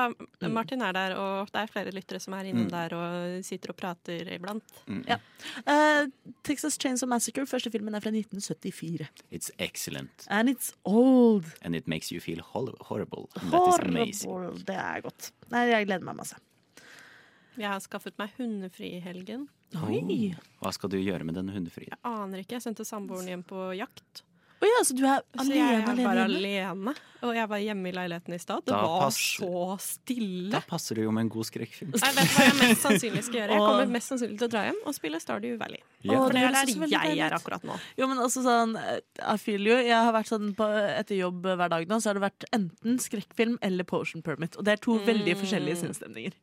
Speaker 3: Martin er der, og det er flere lyttere som er innom
Speaker 1: Mm.
Speaker 3: der og sitter og prater iblant.
Speaker 1: Eh, Texas Chainsaw Massacre, første filmen, er fra 1974.
Speaker 2: It's excellent.
Speaker 1: And it's old.
Speaker 2: And it makes you feel hol horrible. And that is amazing.
Speaker 1: Horrible. Det er godt. Nei, jeg gleder meg masse.
Speaker 3: Jeg har skaffet meg hundefri i helgen.
Speaker 1: Oi.
Speaker 2: Oh, Hva skal du gjøre med den hundefrie?
Speaker 3: Aner ikke. Jeg sendte samboeren hjem på jakt.
Speaker 1: Å ja, så du er
Speaker 3: Så
Speaker 1: alene,
Speaker 3: jeg er
Speaker 1: alene,
Speaker 3: bare
Speaker 1: hjemme?
Speaker 3: alene. Og jeg var hjemme i leiligheten i stad. Det
Speaker 2: Da
Speaker 3: var
Speaker 2: passer-
Speaker 3: så stille.
Speaker 2: Da passer det jo med en god skrekkfilm.
Speaker 3: Jeg vet hva jeg mest sannsynlig skal gjøre. Jeg
Speaker 1: Åh.
Speaker 3: kommer mest sannsynlig til å dra hjem og spille Stardew Valley.
Speaker 2: Ja.
Speaker 1: Å,
Speaker 3: For det er
Speaker 1: høres
Speaker 3: der
Speaker 1: også veldig
Speaker 3: jeg
Speaker 1: deilig
Speaker 3: er
Speaker 1: ut.
Speaker 3: akkurat nå.
Speaker 1: Jo, men altså sånn eh, I feel you. Jeg har vært sånn på, etter jobb hver dag nå, så har det vært enten skrekkfilm eller Potion Permit. Og det er to veldig forskjellige sinnsstemninger.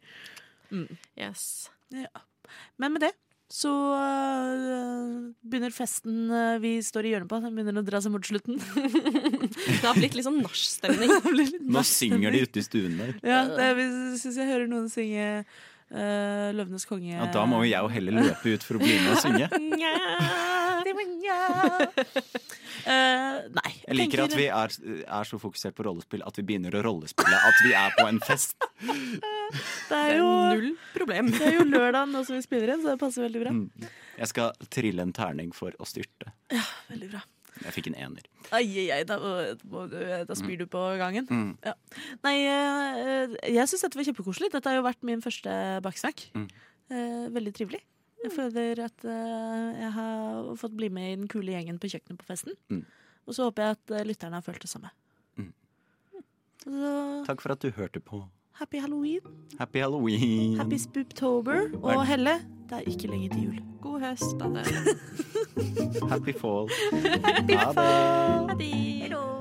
Speaker 3: Yes.
Speaker 1: Men med det så øh, begynner festen øh, vi står i hjørnet på, den begynner å dra seg mot slutten.
Speaker 3: Det har blitt litt sånn nachstemning.
Speaker 1: Det blir litt
Speaker 2: Nå
Speaker 1: natt
Speaker 2: synger de
Speaker 1: stemning.
Speaker 2: ute i stuen der.
Speaker 1: Ja, det, vi syns jeg hører noen synge øh, 'Løvenes konge'.
Speaker 2: Ja, da må jo jeg og Helle løpe ut for å bli med og synge.
Speaker 3: Nja.
Speaker 1: Eh, nei.
Speaker 2: Jeg liker at vi er, er så fokusert på rollespill at vi begynner å rollespille at vi er på en fest.
Speaker 1: Det
Speaker 3: Det
Speaker 1: er
Speaker 3: er
Speaker 1: jo,
Speaker 3: null problem.
Speaker 1: det er jo lørdag nå som vi spiller inn, så det passer veldig bra.
Speaker 2: Mm. Jeg skal trille en terning for å styrte.
Speaker 1: Veldig bra.
Speaker 2: Jeg fikk en ener.
Speaker 1: Ai, ai, ai, da, må du- da
Speaker 2: Mm.
Speaker 1: spyr du på gangen. Ja. Nei, eh, jeg syns dette var kjempekoselig. Dette har jo vært min første baksnakk.
Speaker 2: Mm.
Speaker 1: Eh, veldig trivelig. Jeg føler at eh, jeg har fått bli med i den kule gjengen på kjøkkenet på festen.
Speaker 2: Mm.
Speaker 1: Og så håper jeg at eh, lytterne har følt det samme.
Speaker 2: Mm.
Speaker 1: Så
Speaker 2: Takk for at du hørte på.
Speaker 1: happy halloween,
Speaker 2: Happy halloween.
Speaker 1: happy spooptober. Og Helle, det er ikke lenger til jul.
Speaker 3: God høst. Ha det.
Speaker 2: Happy fall. Ha det.
Speaker 3: Ha det.